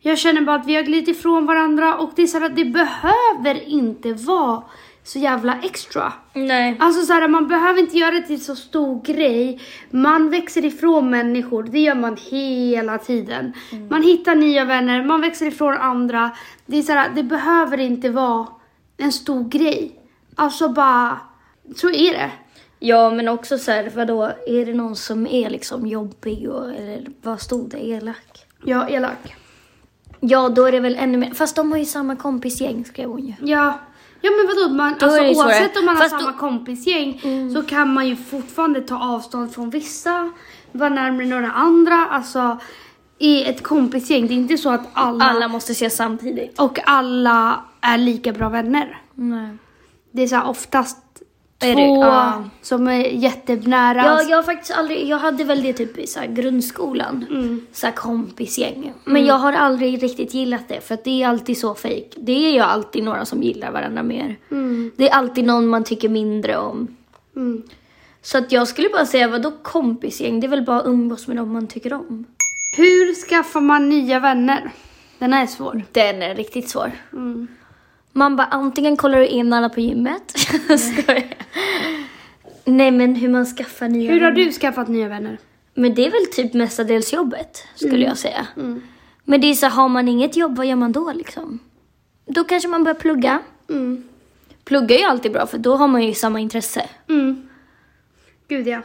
[SPEAKER 2] Jag känner bara att vi har glidit ifrån varandra och det är så här, att det behöver inte vara så jävla extra.
[SPEAKER 1] Nej.
[SPEAKER 2] Alltså så här, man behöver inte göra det till så stor grej. Man växer ifrån människor, det gör man hela tiden.
[SPEAKER 1] Mm.
[SPEAKER 2] Man hittar nya vänner, man växer ifrån andra. Det, är så här, det behöver inte vara en stor grej. Alltså bara, så är det.
[SPEAKER 1] Ja, men också så här, vadå, är det någon som är liksom jobbig och, eller vad stod det, elak?
[SPEAKER 2] Ja, elak.
[SPEAKER 1] Ja, då är det väl ännu mer, fast de har ju samma kompisgäng skrev hon ju.
[SPEAKER 2] Ja. Ja men vadå, man,
[SPEAKER 1] Då är
[SPEAKER 2] alltså,
[SPEAKER 1] det ju svårare.
[SPEAKER 2] oavsett om man har
[SPEAKER 1] Fast
[SPEAKER 2] samma
[SPEAKER 1] då- Mm.
[SPEAKER 2] kompisgäng så kan man ju fortfarande ta avstånd från vissa, vara närmare några andra. Alltså i ett kompisgäng, det är inte så att
[SPEAKER 1] Alla måste ses samtidigt.
[SPEAKER 2] Och alla är lika bra vänner.
[SPEAKER 1] Nej.
[SPEAKER 2] Det är så här oftast
[SPEAKER 1] Är det-
[SPEAKER 2] två
[SPEAKER 1] ja.
[SPEAKER 2] som är jättenära.
[SPEAKER 1] Jag, jag har faktiskt aldrig, jag hade väl det typ i så här grundskolan,
[SPEAKER 2] Mm.
[SPEAKER 1] så här kompisgäng. Men jag har aldrig riktigt gillat det för att det är alltid så fejk. Det är ju alltid några som gillar varandra mer.
[SPEAKER 2] Mm.
[SPEAKER 1] Det är alltid någon man tycker mindre om.
[SPEAKER 2] Mm.
[SPEAKER 1] Så att jag skulle bara säga, vadå kompisgäng? Det är väl bara att umgås med dem man tycker om.
[SPEAKER 2] Hur skaffar man nya vänner? Den här är svår.
[SPEAKER 1] Den är riktigt svår.
[SPEAKER 2] Mm.
[SPEAKER 1] Man bara, antingen kollar du in alla på gymmet. <laughs> Skojar jag. Nej men hur man skaffar nya
[SPEAKER 2] Hur har
[SPEAKER 1] vänner.
[SPEAKER 2] du skaffat nya vänner?
[SPEAKER 1] Men det är väl typ mestadels jobbet, skulle jag säga. Men det är så, har man inget jobb, vad gör man då liksom? Då kanske man börjar plugga.
[SPEAKER 2] Mm.
[SPEAKER 1] Plugga är ju alltid bra, för då har man ju samma intresse.
[SPEAKER 2] Mm. Gud ja.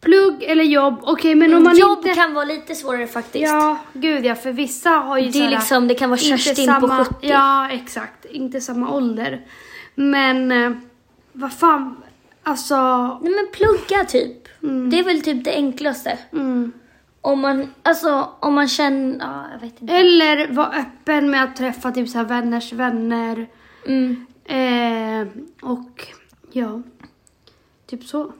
[SPEAKER 2] Plugg eller jobb? Okej men om man
[SPEAKER 1] Mm, Jobb
[SPEAKER 2] inte...
[SPEAKER 1] kan vara lite svårare faktiskt.
[SPEAKER 2] Ja, gud ja. För vissa har ju
[SPEAKER 1] det, är
[SPEAKER 2] så här-
[SPEAKER 1] liksom, det kan vara
[SPEAKER 2] Inte
[SPEAKER 1] Kerstin
[SPEAKER 2] samma-
[SPEAKER 1] på 70.
[SPEAKER 2] Ja, exakt. Inte samma ålder. Men eh, vad fan, alltså...
[SPEAKER 1] Nej men plugga typ. Det är väl typ det enklaste.
[SPEAKER 2] Mm.
[SPEAKER 1] Om man, alltså, om man känner, ja jag vet inte.
[SPEAKER 2] Eller vara öppen med att träffa typ så här vänners vänner.
[SPEAKER 1] Mm.
[SPEAKER 2] Eh, och ja, typ så.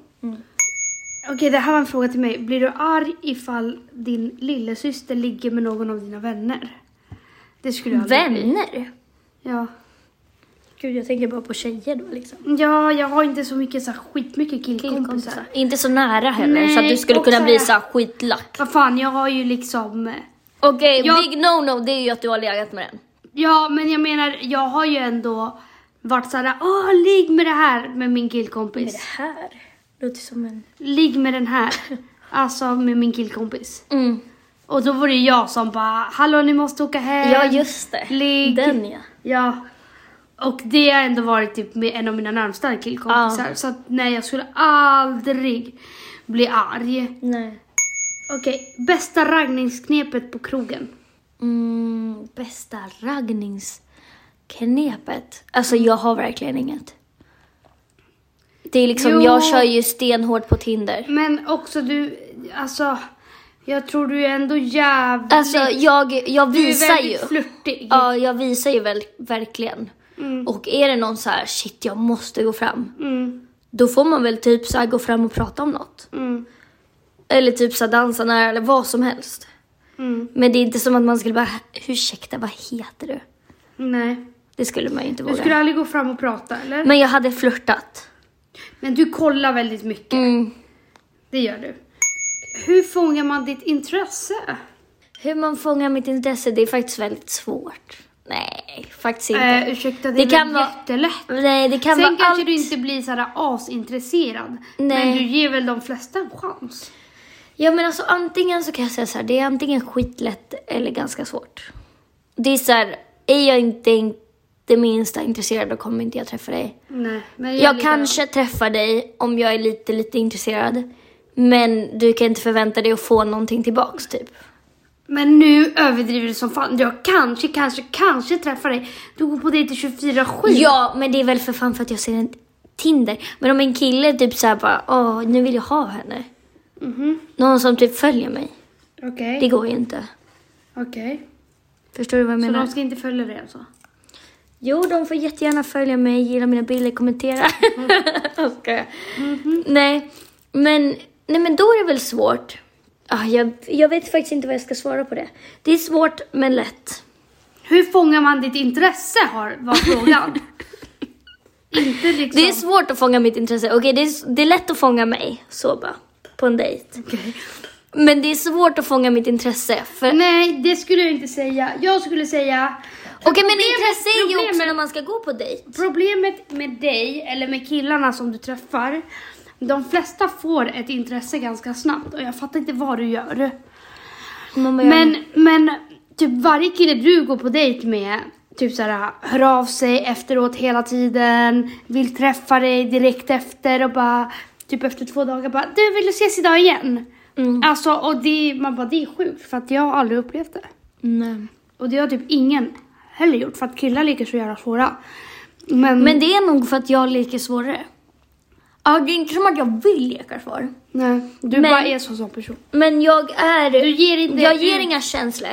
[SPEAKER 2] Okej, det här var en fråga till mig. Blir du arg ifall din lillasyster ligger med någon av dina vänner? Det skulle jag aldrig bli.
[SPEAKER 1] Vänner?
[SPEAKER 2] Ja.
[SPEAKER 1] Gud jag tänker bara på tjejer då liksom.
[SPEAKER 2] ja, jag har inte så mycket så här skitmycket killkompisar.
[SPEAKER 1] Killkompisar. Inte så nära heller så att
[SPEAKER 2] Nej,
[SPEAKER 1] du skulle
[SPEAKER 2] och
[SPEAKER 1] kunna
[SPEAKER 2] så
[SPEAKER 1] bli
[SPEAKER 2] här-
[SPEAKER 1] så här skitlack.
[SPEAKER 2] Vad fan, jag har ju liksom... eh,
[SPEAKER 1] Okej,
[SPEAKER 2] Jag-
[SPEAKER 1] big no-no det är ju att du har legat med den.
[SPEAKER 2] Ja, men jag menar, jag har ju ändå varit såhär, åh, ligg med det här med min killkompis.
[SPEAKER 1] här låter som en...
[SPEAKER 2] Ligg med
[SPEAKER 1] <laughs>
[SPEAKER 2] den här. Alltså med min killkompis.
[SPEAKER 1] Mm.
[SPEAKER 2] Och då var det jag som bara, hallå ni måste åka hem.
[SPEAKER 1] Ja just det.
[SPEAKER 2] Ehm, Ligg.
[SPEAKER 1] Den ja.
[SPEAKER 2] Ja. Och det har ändå varit typ med en av mina närmsta killkompisar. Så att nej, jag skulle aldrig bli arg.
[SPEAKER 1] Nej.
[SPEAKER 2] Okej, bästa raggningsknepet på krogen.
[SPEAKER 1] Mm, bästa raggningsknepet. Alltså jag har verkligen inget. Det är liksom,
[SPEAKER 2] Jo. Mm.
[SPEAKER 1] jag kör ju stenhårt på Tinder.
[SPEAKER 2] Men också du, alltså, jag tror du är ändå jävligt...
[SPEAKER 1] Alltså jag, jag
[SPEAKER 2] du är
[SPEAKER 1] visar ju.
[SPEAKER 2] väldigt flörtig.
[SPEAKER 1] Ja, jag visar ju väl, verkligen. Och är det någon så här, shit jag måste gå fram.
[SPEAKER 2] Mm,
[SPEAKER 1] Då får man väl typ så här gå fram och prata om något.
[SPEAKER 2] mm,
[SPEAKER 1] Eller typ så här dansa nära eller vad som helst.
[SPEAKER 2] mm.
[SPEAKER 1] Men det är inte som att man skulle bara, ursäkta vad heter du?
[SPEAKER 2] Nej.
[SPEAKER 1] Det skulle man ju inte
[SPEAKER 2] Du
[SPEAKER 1] våga.
[SPEAKER 2] skulle aldrig gå fram och prata eller?
[SPEAKER 1] Men jag hade flörtat.
[SPEAKER 2] Men du kollar väldigt mycket.
[SPEAKER 1] Mm.
[SPEAKER 2] Det gör du. Hur fångar man ditt intresse?
[SPEAKER 1] Hur man fångar mitt intresse, det är faktiskt väldigt svårt. Nej, faktiskt inte.
[SPEAKER 2] Eh, ursäkta, det,
[SPEAKER 1] Det
[SPEAKER 2] är
[SPEAKER 1] kan
[SPEAKER 2] väl
[SPEAKER 1] vara-
[SPEAKER 2] jättelätt.
[SPEAKER 1] Nej, det kan
[SPEAKER 2] Sen
[SPEAKER 1] vara
[SPEAKER 2] kanske
[SPEAKER 1] allt.
[SPEAKER 2] du inte blir såhär asintresserad. Men
[SPEAKER 1] Nej.
[SPEAKER 2] du ger väl de flesta en chans?
[SPEAKER 1] Ja, men alltså antingen så kan jag säga så här, det är antingen skitlätt eller ganska svårt. Det är så här, är jag inte in- det minsta intresserad då kommer inte jag träffa dig.
[SPEAKER 2] Nej. Men är
[SPEAKER 1] Jag
[SPEAKER 2] likadan.
[SPEAKER 1] kanske träffar dig om jag är lite, lite intresserad. Men du kan inte förvänta dig att få någonting tillbaks typ.
[SPEAKER 2] Men nu överdriver du som fan. Jag kanske, kanske, kanske träffar dig. Du går på dejter 24-7.
[SPEAKER 1] Ja, men det är väl för fan för att jag ser en Tinder. Men om en kille typ såhär bara, åh, nu vill jag ha henne.
[SPEAKER 2] Mhm.
[SPEAKER 1] Någon som typ följer mig.
[SPEAKER 2] Okej.
[SPEAKER 1] Det går ju inte.
[SPEAKER 2] Okej.
[SPEAKER 1] Förstår du vad jag
[SPEAKER 2] Så
[SPEAKER 1] menar?
[SPEAKER 2] de ska inte följa dig alltså?
[SPEAKER 1] Jo, de får jättegärna följa mig, gilla mina bilder, kommentera. <laughs> Mhm. Jag skojar. Nej, men, nej, men då är det väl svårt. Ah, jag, jag vet faktiskt inte vad jag ska svara på det. Det är svårt, men lätt.
[SPEAKER 2] Hur fångar man ditt intresse har,
[SPEAKER 1] <laughs>
[SPEAKER 2] var frågan. inte liksom...
[SPEAKER 1] Det är svårt att fånga mitt intresse. Okej, det, är, s- det är lätt att fånga mig, så bara, på en dejt.
[SPEAKER 2] Okej.
[SPEAKER 1] Men det är svårt att fånga mitt intresse. För... Okej,
[SPEAKER 2] Nej, det skulle jag inte säga. Jag skulle säga...
[SPEAKER 1] men intresse är ju också
[SPEAKER 2] problemet-
[SPEAKER 1] när man ska gå på dejt.
[SPEAKER 2] Problemet med dig, eller med killarna som du träffar, de flesta får ett intresse ganska snabbt och jag fattar inte vad du gör.
[SPEAKER 1] Man bara,
[SPEAKER 2] Men, men typ varje kille du går på dejt med, typ såhär, hör av sig efteråt hela tiden, vill träffa dig direkt efter och bara, typ efter två dagar bara, du vill du ses idag igen?
[SPEAKER 1] Mm.
[SPEAKER 2] Alltså, och det, man bara, det är sjukt för att jag har aldrig upplevt det.
[SPEAKER 1] Nej.
[SPEAKER 2] Och det har typ ingen heller gjort för att killar ligger så jävla svåra. Men,
[SPEAKER 1] Men det är nog för att jag leker svårare. Ja, det är inte som att jag vill leka svår.
[SPEAKER 2] nej, du
[SPEAKER 1] men-
[SPEAKER 2] bara är så som person.
[SPEAKER 1] Men jag är...
[SPEAKER 2] Du ger inte
[SPEAKER 1] jag
[SPEAKER 2] ut-
[SPEAKER 1] ger inga känslor.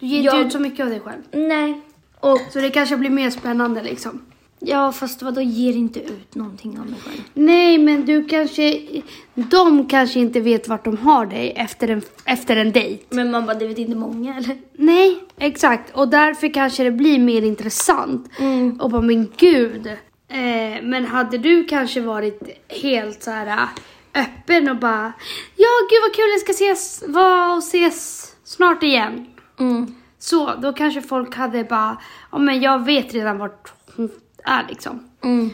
[SPEAKER 2] Du ger inte
[SPEAKER 1] Jag-
[SPEAKER 2] ut så mycket av dig själv.
[SPEAKER 1] Nej. Och
[SPEAKER 2] Så det kanske blir mer spännande liksom.
[SPEAKER 1] ja, fast vadå ger inte ut någonting av mig själv?
[SPEAKER 2] Nej, men du kanske... De kanske inte vet vart de har dig efter en, efter en dejt.
[SPEAKER 1] Men man bara, det vet inte många eller?
[SPEAKER 2] Nej, exakt. Och därför kanske det blir mer intressant.
[SPEAKER 1] Mm.
[SPEAKER 2] Och bara, men gud. Eh, men hade du kanske varit helt så här äh, öppen och bara, ja gud vad kul, jag ska ses, va, och ses snart igen.
[SPEAKER 1] Mm.
[SPEAKER 2] Så, då kanske folk hade bara, ja men jag vet redan vart hon är liksom.
[SPEAKER 1] Mm.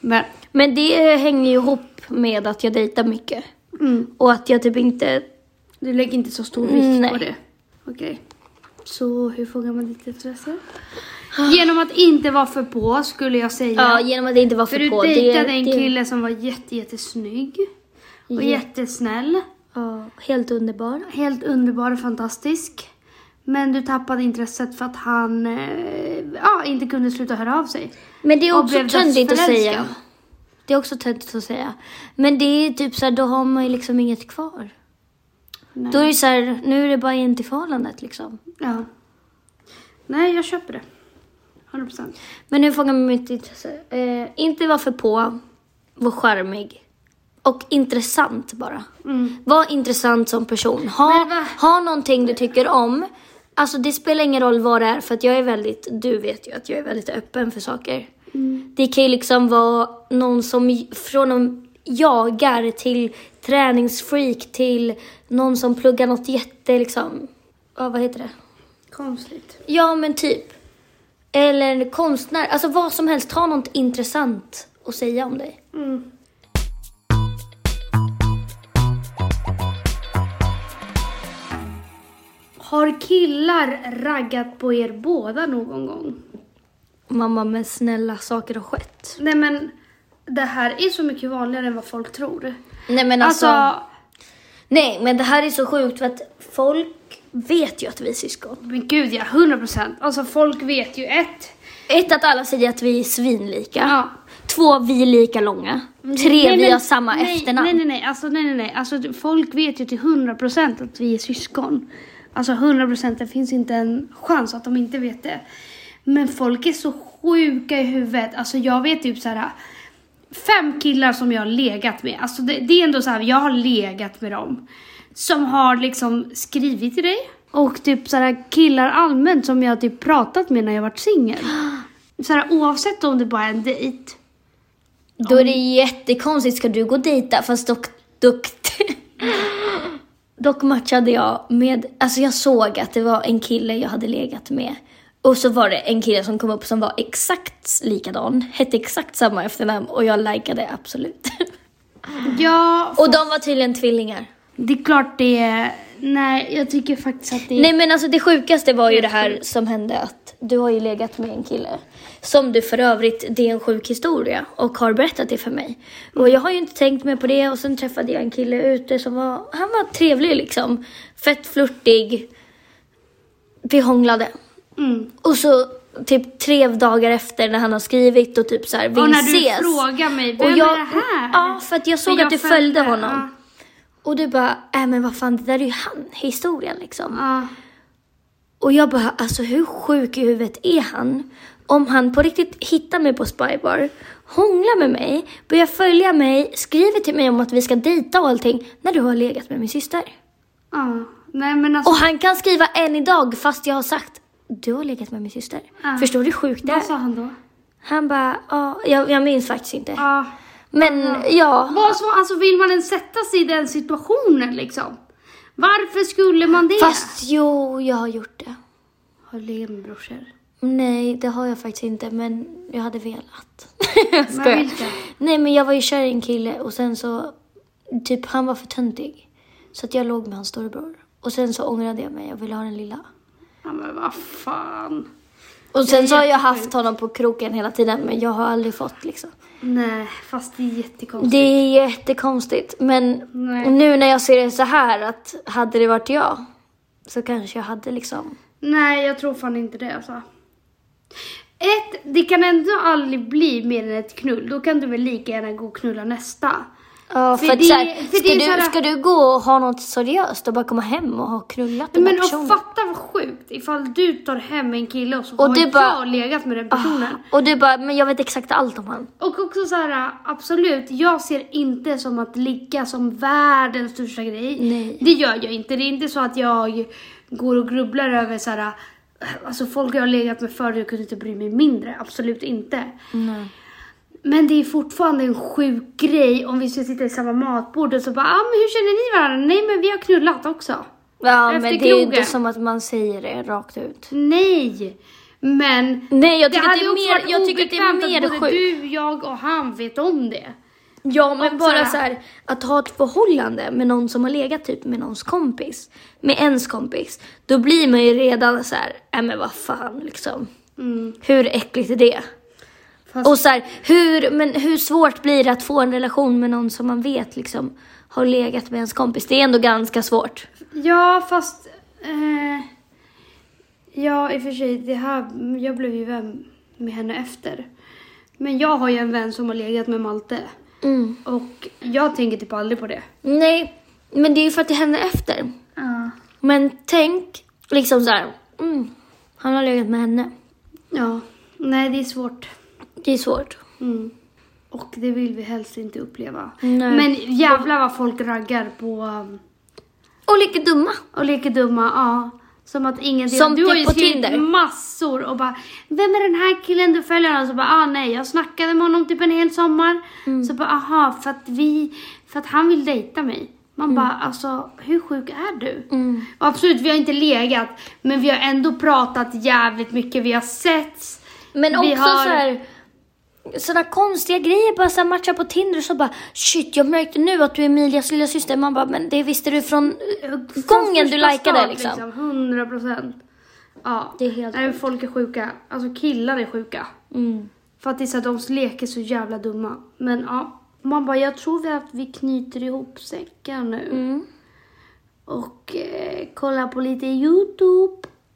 [SPEAKER 2] Men,
[SPEAKER 1] Men det eh, hänger ju ihop med att jag dejtar mycket.
[SPEAKER 2] mm,
[SPEAKER 1] Och att jag typ inte...
[SPEAKER 2] du lägger inte så stor vikt
[SPEAKER 1] Nej.
[SPEAKER 2] på det. Okej. Så hur fångar man ditt intresse? Genom att inte vara för på skulle jag säga.
[SPEAKER 1] Ja, genom att det inte var för,
[SPEAKER 2] För du
[SPEAKER 1] på.
[SPEAKER 2] dejtade en
[SPEAKER 1] det,
[SPEAKER 2] kille som var jätte, jättesnygg och
[SPEAKER 1] Ja.
[SPEAKER 2] jättesnäll.
[SPEAKER 1] Ja, helt underbar.
[SPEAKER 2] Helt underbar och fantastisk. Men du tappade intresset för att han eh, ja, inte kunde sluta höra av sig.
[SPEAKER 1] Men det är
[SPEAKER 2] Och
[SPEAKER 1] också
[SPEAKER 2] blev
[SPEAKER 1] töntigt att
[SPEAKER 2] dödsförälskad.
[SPEAKER 1] säga. Det är också töntigt att säga. Men det är typ så här, då har man ju liksom inget kvar.
[SPEAKER 2] Nej.
[SPEAKER 1] Då är det så här, nu är det bara in till förhållandet liksom.
[SPEAKER 2] Ja. Nej, jag köper det. 100 procent.
[SPEAKER 1] Men nu fångar man mitt intresse. Eh, inte vara för på, var charmig. Och intressant bara.
[SPEAKER 2] Mm.
[SPEAKER 1] Var intressant som person. Ha,
[SPEAKER 2] Men vad-
[SPEAKER 1] ha någonting du tycker om. Alltså det spelar ingen roll vad det är för att jag är väldigt, du vet ju att jag är väldigt öppen för saker.
[SPEAKER 2] Mm.
[SPEAKER 1] Det kan ju liksom vara någon som j- från en jagar till träningsfreak till någon som pluggar något jätte liksom, ja vad heter det?
[SPEAKER 2] Konstigt.
[SPEAKER 1] Ja, men typ. Eller en konstnär. Alltså vad som helst. Ta något intressant att säga om dig.
[SPEAKER 2] Mm. Har killar raggat på er båda någon gång?
[SPEAKER 1] Mamma, men snälla saker har skett.
[SPEAKER 2] Nej men, det här är så mycket vanligare än vad folk tror.
[SPEAKER 1] Nej, men alltså.
[SPEAKER 2] Alltså,
[SPEAKER 1] Nej, men det här är så sjukt för att folk vet ju att vi är syskon.
[SPEAKER 2] men gud ja, 100 procent. Alltså folk vet ju ett.
[SPEAKER 1] Ett, att alla säger att vi är svinlika.
[SPEAKER 2] Ja. Mm.
[SPEAKER 1] Två, vi är lika långa. Tre,
[SPEAKER 2] Nej,
[SPEAKER 1] vi
[SPEAKER 2] men-
[SPEAKER 1] har samma
[SPEAKER 2] nej,
[SPEAKER 1] efternamn.
[SPEAKER 2] Nej, nej, nej. Alltså, nej, nej, nej. Alltså, du- folk vet ju till 100% att vi är syskon. Alltså 100% det finns inte en chans att de inte vet det. Men folk är så sjuka i huvudet. Alltså jag vet typ så här fem killar som jag har legat med. Alltså det, det är ändå så här, jag har legat med dem. Som har liksom skrivit till dig. Och typ så här killar allmänt som jag har typ pratat med när jag
[SPEAKER 1] <gasps>
[SPEAKER 2] varit singel. Så här, oavsett om det bara är en dejt.
[SPEAKER 1] Då är det jättekonstigt, ska du gå och dejta? Fast dock, dock, <laughs> dock matchade jag med, alltså jag såg att det var en kille jag hade legat med. Och så var det en kille som kom upp som var exakt likadan, hette exakt samma efternamn och jag likade absolut. <laughs>
[SPEAKER 2] Ja,
[SPEAKER 1] Och de var tydligen tvillingar.
[SPEAKER 2] Det är klart det är... Nej, jag tycker faktiskt att det är...
[SPEAKER 1] Nej men alltså det sjukaste var
[SPEAKER 2] Mm.
[SPEAKER 1] ju det här som hände att du har ju legat med en kille. Som du för övrigt, det är en sjuk historia och har berättat det för mig.
[SPEAKER 2] Mm.
[SPEAKER 1] Och jag har ju inte tänkt mer på det och sen träffade jag en kille ute som var, han var trevlig liksom. Fett flörtig. Vi hånglade.
[SPEAKER 2] Mm.
[SPEAKER 1] Och så typ tre dagar efter när han har skrivit och typ så här vill
[SPEAKER 2] Och när du
[SPEAKER 1] ses.
[SPEAKER 2] frågar mig, vem
[SPEAKER 1] jag,
[SPEAKER 2] är det här?
[SPEAKER 1] Ja, för att jag såg
[SPEAKER 2] jag
[SPEAKER 1] att du
[SPEAKER 2] följde,
[SPEAKER 1] följde honom.
[SPEAKER 2] ja.
[SPEAKER 1] Och du bara, äh men vad fan det där är ju han, historien liksom.
[SPEAKER 2] Ja.
[SPEAKER 1] Och jag bara, alltså hur sjuk i huvudet är han? Om han på riktigt hittar mig på Spybar, hånglar med mig, börjar följa mig, skriver till mig om att vi ska dejta och allting när du har legat med min syster.
[SPEAKER 2] ja. Nej men alltså,
[SPEAKER 1] Och han kan skriva än idag fast jag har sagt du har legat med min syster.
[SPEAKER 2] Ah.
[SPEAKER 1] Förstår du hur sjukt det är?
[SPEAKER 2] vad sa han då?
[SPEAKER 1] Han bara, ja, jag, jag minns faktiskt inte.
[SPEAKER 2] Ja.
[SPEAKER 1] Men ja,
[SPEAKER 2] Ah. Vad så, alltså vill man ens sätta sig i den situationen liksom? Varför skulle man det?
[SPEAKER 1] fast jo, jag har gjort det.
[SPEAKER 2] Har du legat med brorsor?
[SPEAKER 1] Nej, det har jag faktiskt inte, men jag hade velat. <laughs>
[SPEAKER 2] Men vilka?
[SPEAKER 1] Nej, men jag var ju kär i en kille och sen så, typ han var för töntig. Så att jag låg med hans storebror. Och sen så ångrade jag mig och ville ha den lilla.
[SPEAKER 2] Ja men vad fan.
[SPEAKER 1] Och sen så har jag haft honom på kroken hela tiden, men jag har aldrig fått liksom.
[SPEAKER 2] Nej, fast det är jättekonstigt.
[SPEAKER 1] Det är jättekonstigt, men
[SPEAKER 2] Nej.
[SPEAKER 1] nu när jag ser det så här att hade det varit jag så kanske jag hade liksom.
[SPEAKER 2] Nej, jag tror fan inte det alltså. Ett, det kan ändå aldrig bli mer än ett knull. Då kan du väl lika gärna gå och knulla nästa.
[SPEAKER 1] Ja, för,
[SPEAKER 2] För
[SPEAKER 1] att
[SPEAKER 2] det-
[SPEAKER 1] så här,
[SPEAKER 2] för
[SPEAKER 1] ska,
[SPEAKER 2] det är så
[SPEAKER 1] du,
[SPEAKER 2] här-
[SPEAKER 1] ska du gå och ha något seriöst och bara komma hem och ha knullat den
[SPEAKER 2] Men
[SPEAKER 1] här
[SPEAKER 2] och
[SPEAKER 1] personen?
[SPEAKER 2] fatta vad sjukt ifall du tar hem en kille och så
[SPEAKER 1] Och
[SPEAKER 2] har
[SPEAKER 1] du
[SPEAKER 2] jag
[SPEAKER 1] bara- Ah.
[SPEAKER 2] legat med den personen.
[SPEAKER 1] Och du bara, men jag vet exakt allt om han.
[SPEAKER 2] Och också så här, absolut, jag ser inte som att ligga som världens största grej.
[SPEAKER 1] Nej.
[SPEAKER 2] Det gör jag inte. Det är inte så att jag går och grubblar över så här, alltså folk jag har legat med förr, jag kunde inte bry mig mindre. Absolut inte. Men det är fortfarande en sjuk grej om vi ska sitta i samma matbord och så bara, ah, men hur känner ni varandra? Nej, men vi har knullat också.
[SPEAKER 1] Ja,
[SPEAKER 2] Efter
[SPEAKER 1] men det är ju inte
[SPEAKER 2] krogen.
[SPEAKER 1] som att man säger det rakt ut.
[SPEAKER 2] Nej, men
[SPEAKER 1] Nej, jag
[SPEAKER 2] Det
[SPEAKER 1] tycker, att
[SPEAKER 2] hade
[SPEAKER 1] det,
[SPEAKER 2] ju
[SPEAKER 1] är
[SPEAKER 2] också
[SPEAKER 1] mer,
[SPEAKER 2] varit
[SPEAKER 1] jag tycker att det är
[SPEAKER 2] obekvämt
[SPEAKER 1] mer
[SPEAKER 2] att både
[SPEAKER 1] sjukt.
[SPEAKER 2] du, jag och han vet om det.
[SPEAKER 1] Ja, men
[SPEAKER 2] och
[SPEAKER 1] bara
[SPEAKER 2] så här-
[SPEAKER 1] så här, att ha ett förhållande med någon som har legat typ med någons kompis, med ens kompis, då blir man ju redan så här, äh, men vad fan liksom. Hur äckligt är det?
[SPEAKER 2] Mm. Fast-
[SPEAKER 1] Och så här, hur, men hur svårt blir det att få en relation med någon som man vet liksom har legat med ens kompis? Det är ändå ganska svårt.
[SPEAKER 2] Ja, fast... Eh, ja, i och för sig, det här, jag blev ju vän med henne efter. Men jag har ju en vän som har legat med Malte.
[SPEAKER 1] Mm.
[SPEAKER 2] Och jag tänker typ aldrig på det.
[SPEAKER 1] Nej, men det är ju för att det hände efter.
[SPEAKER 2] Ja.
[SPEAKER 1] Men tänk liksom så här, mm, han har legat med henne.
[SPEAKER 2] Ja. Nej, det är svårt.
[SPEAKER 1] Det är svårt.
[SPEAKER 2] Mm. Och det vill vi helst inte uppleva.
[SPEAKER 1] Nej.
[SPEAKER 2] Men jävlar vad folk raggar på... um,
[SPEAKER 1] Och lika dumma.
[SPEAKER 2] Och leker dumma, ja. Som att ingen
[SPEAKER 1] Som
[SPEAKER 2] Du har
[SPEAKER 1] typ
[SPEAKER 2] ju
[SPEAKER 1] på
[SPEAKER 2] skrivit
[SPEAKER 1] Tinder.
[SPEAKER 2] massor och bara Vem är den här killen du följer? Och så bara, ah nej, jag snackade med honom typ en hel sommar.
[SPEAKER 1] Mm.
[SPEAKER 2] Så bara, aha, för att vi, för att han vill dejta mig. Man
[SPEAKER 1] Mm.
[SPEAKER 2] bara, alltså hur sjuk är du? Och absolut, vi har inte legat, men vi har ändå pratat jävligt mycket, vi har setts.
[SPEAKER 1] Men
[SPEAKER 2] vi
[SPEAKER 1] också så här, sådana konstiga grejer bara så här matcha på Tinder och så bara shit jag märkte nu att du är Emilias lilla syster. Man bara men det visste du från gången du
[SPEAKER 2] första
[SPEAKER 1] likade
[SPEAKER 2] start,
[SPEAKER 1] liksom.
[SPEAKER 2] 100 procent. Ja.
[SPEAKER 1] Det är helt
[SPEAKER 2] Nej, men folk är sjuka. Alltså killar är sjuka.
[SPEAKER 1] Mm.
[SPEAKER 2] För att det är så att de leker så jävla dumma. Men ja, man bara jag tror vi att vi knyter ihop säckar nu.
[SPEAKER 1] Mm.
[SPEAKER 2] Och eh, kollar på lite YouTube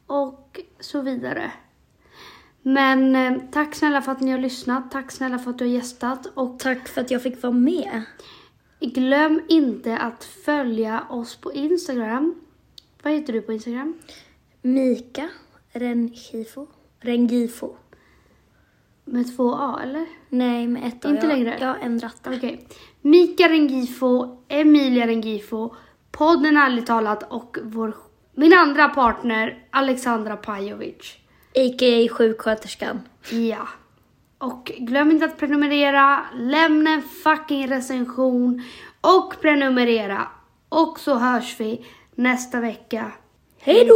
[SPEAKER 2] och så vidare. Men eh, tack snälla för att ni har lyssnat. Tack snälla för att du har gästat. Och
[SPEAKER 1] Tack för att jag fick vara med.
[SPEAKER 2] glöm inte att följa oss på Instagram. Vad heter du på Instagram?
[SPEAKER 1] Mika Rengifo. Rengifo.
[SPEAKER 2] Med två A eller?
[SPEAKER 1] Nej, med ett A.
[SPEAKER 2] Inte
[SPEAKER 1] jag,
[SPEAKER 2] längre?
[SPEAKER 1] Jag har ändrat det.
[SPEAKER 2] Okej. Mika Rengifo, Emilia Rengifo, podden Ärligt talat och vår, min andra partner Alexandra Pajovic.
[SPEAKER 1] A.k.a. sjuksköterskan.
[SPEAKER 2] Ja. Och glöm inte att prenumerera, lämna en fucking recension och prenumerera. Och så hörs vi nästa vecka.
[SPEAKER 1] Hej då!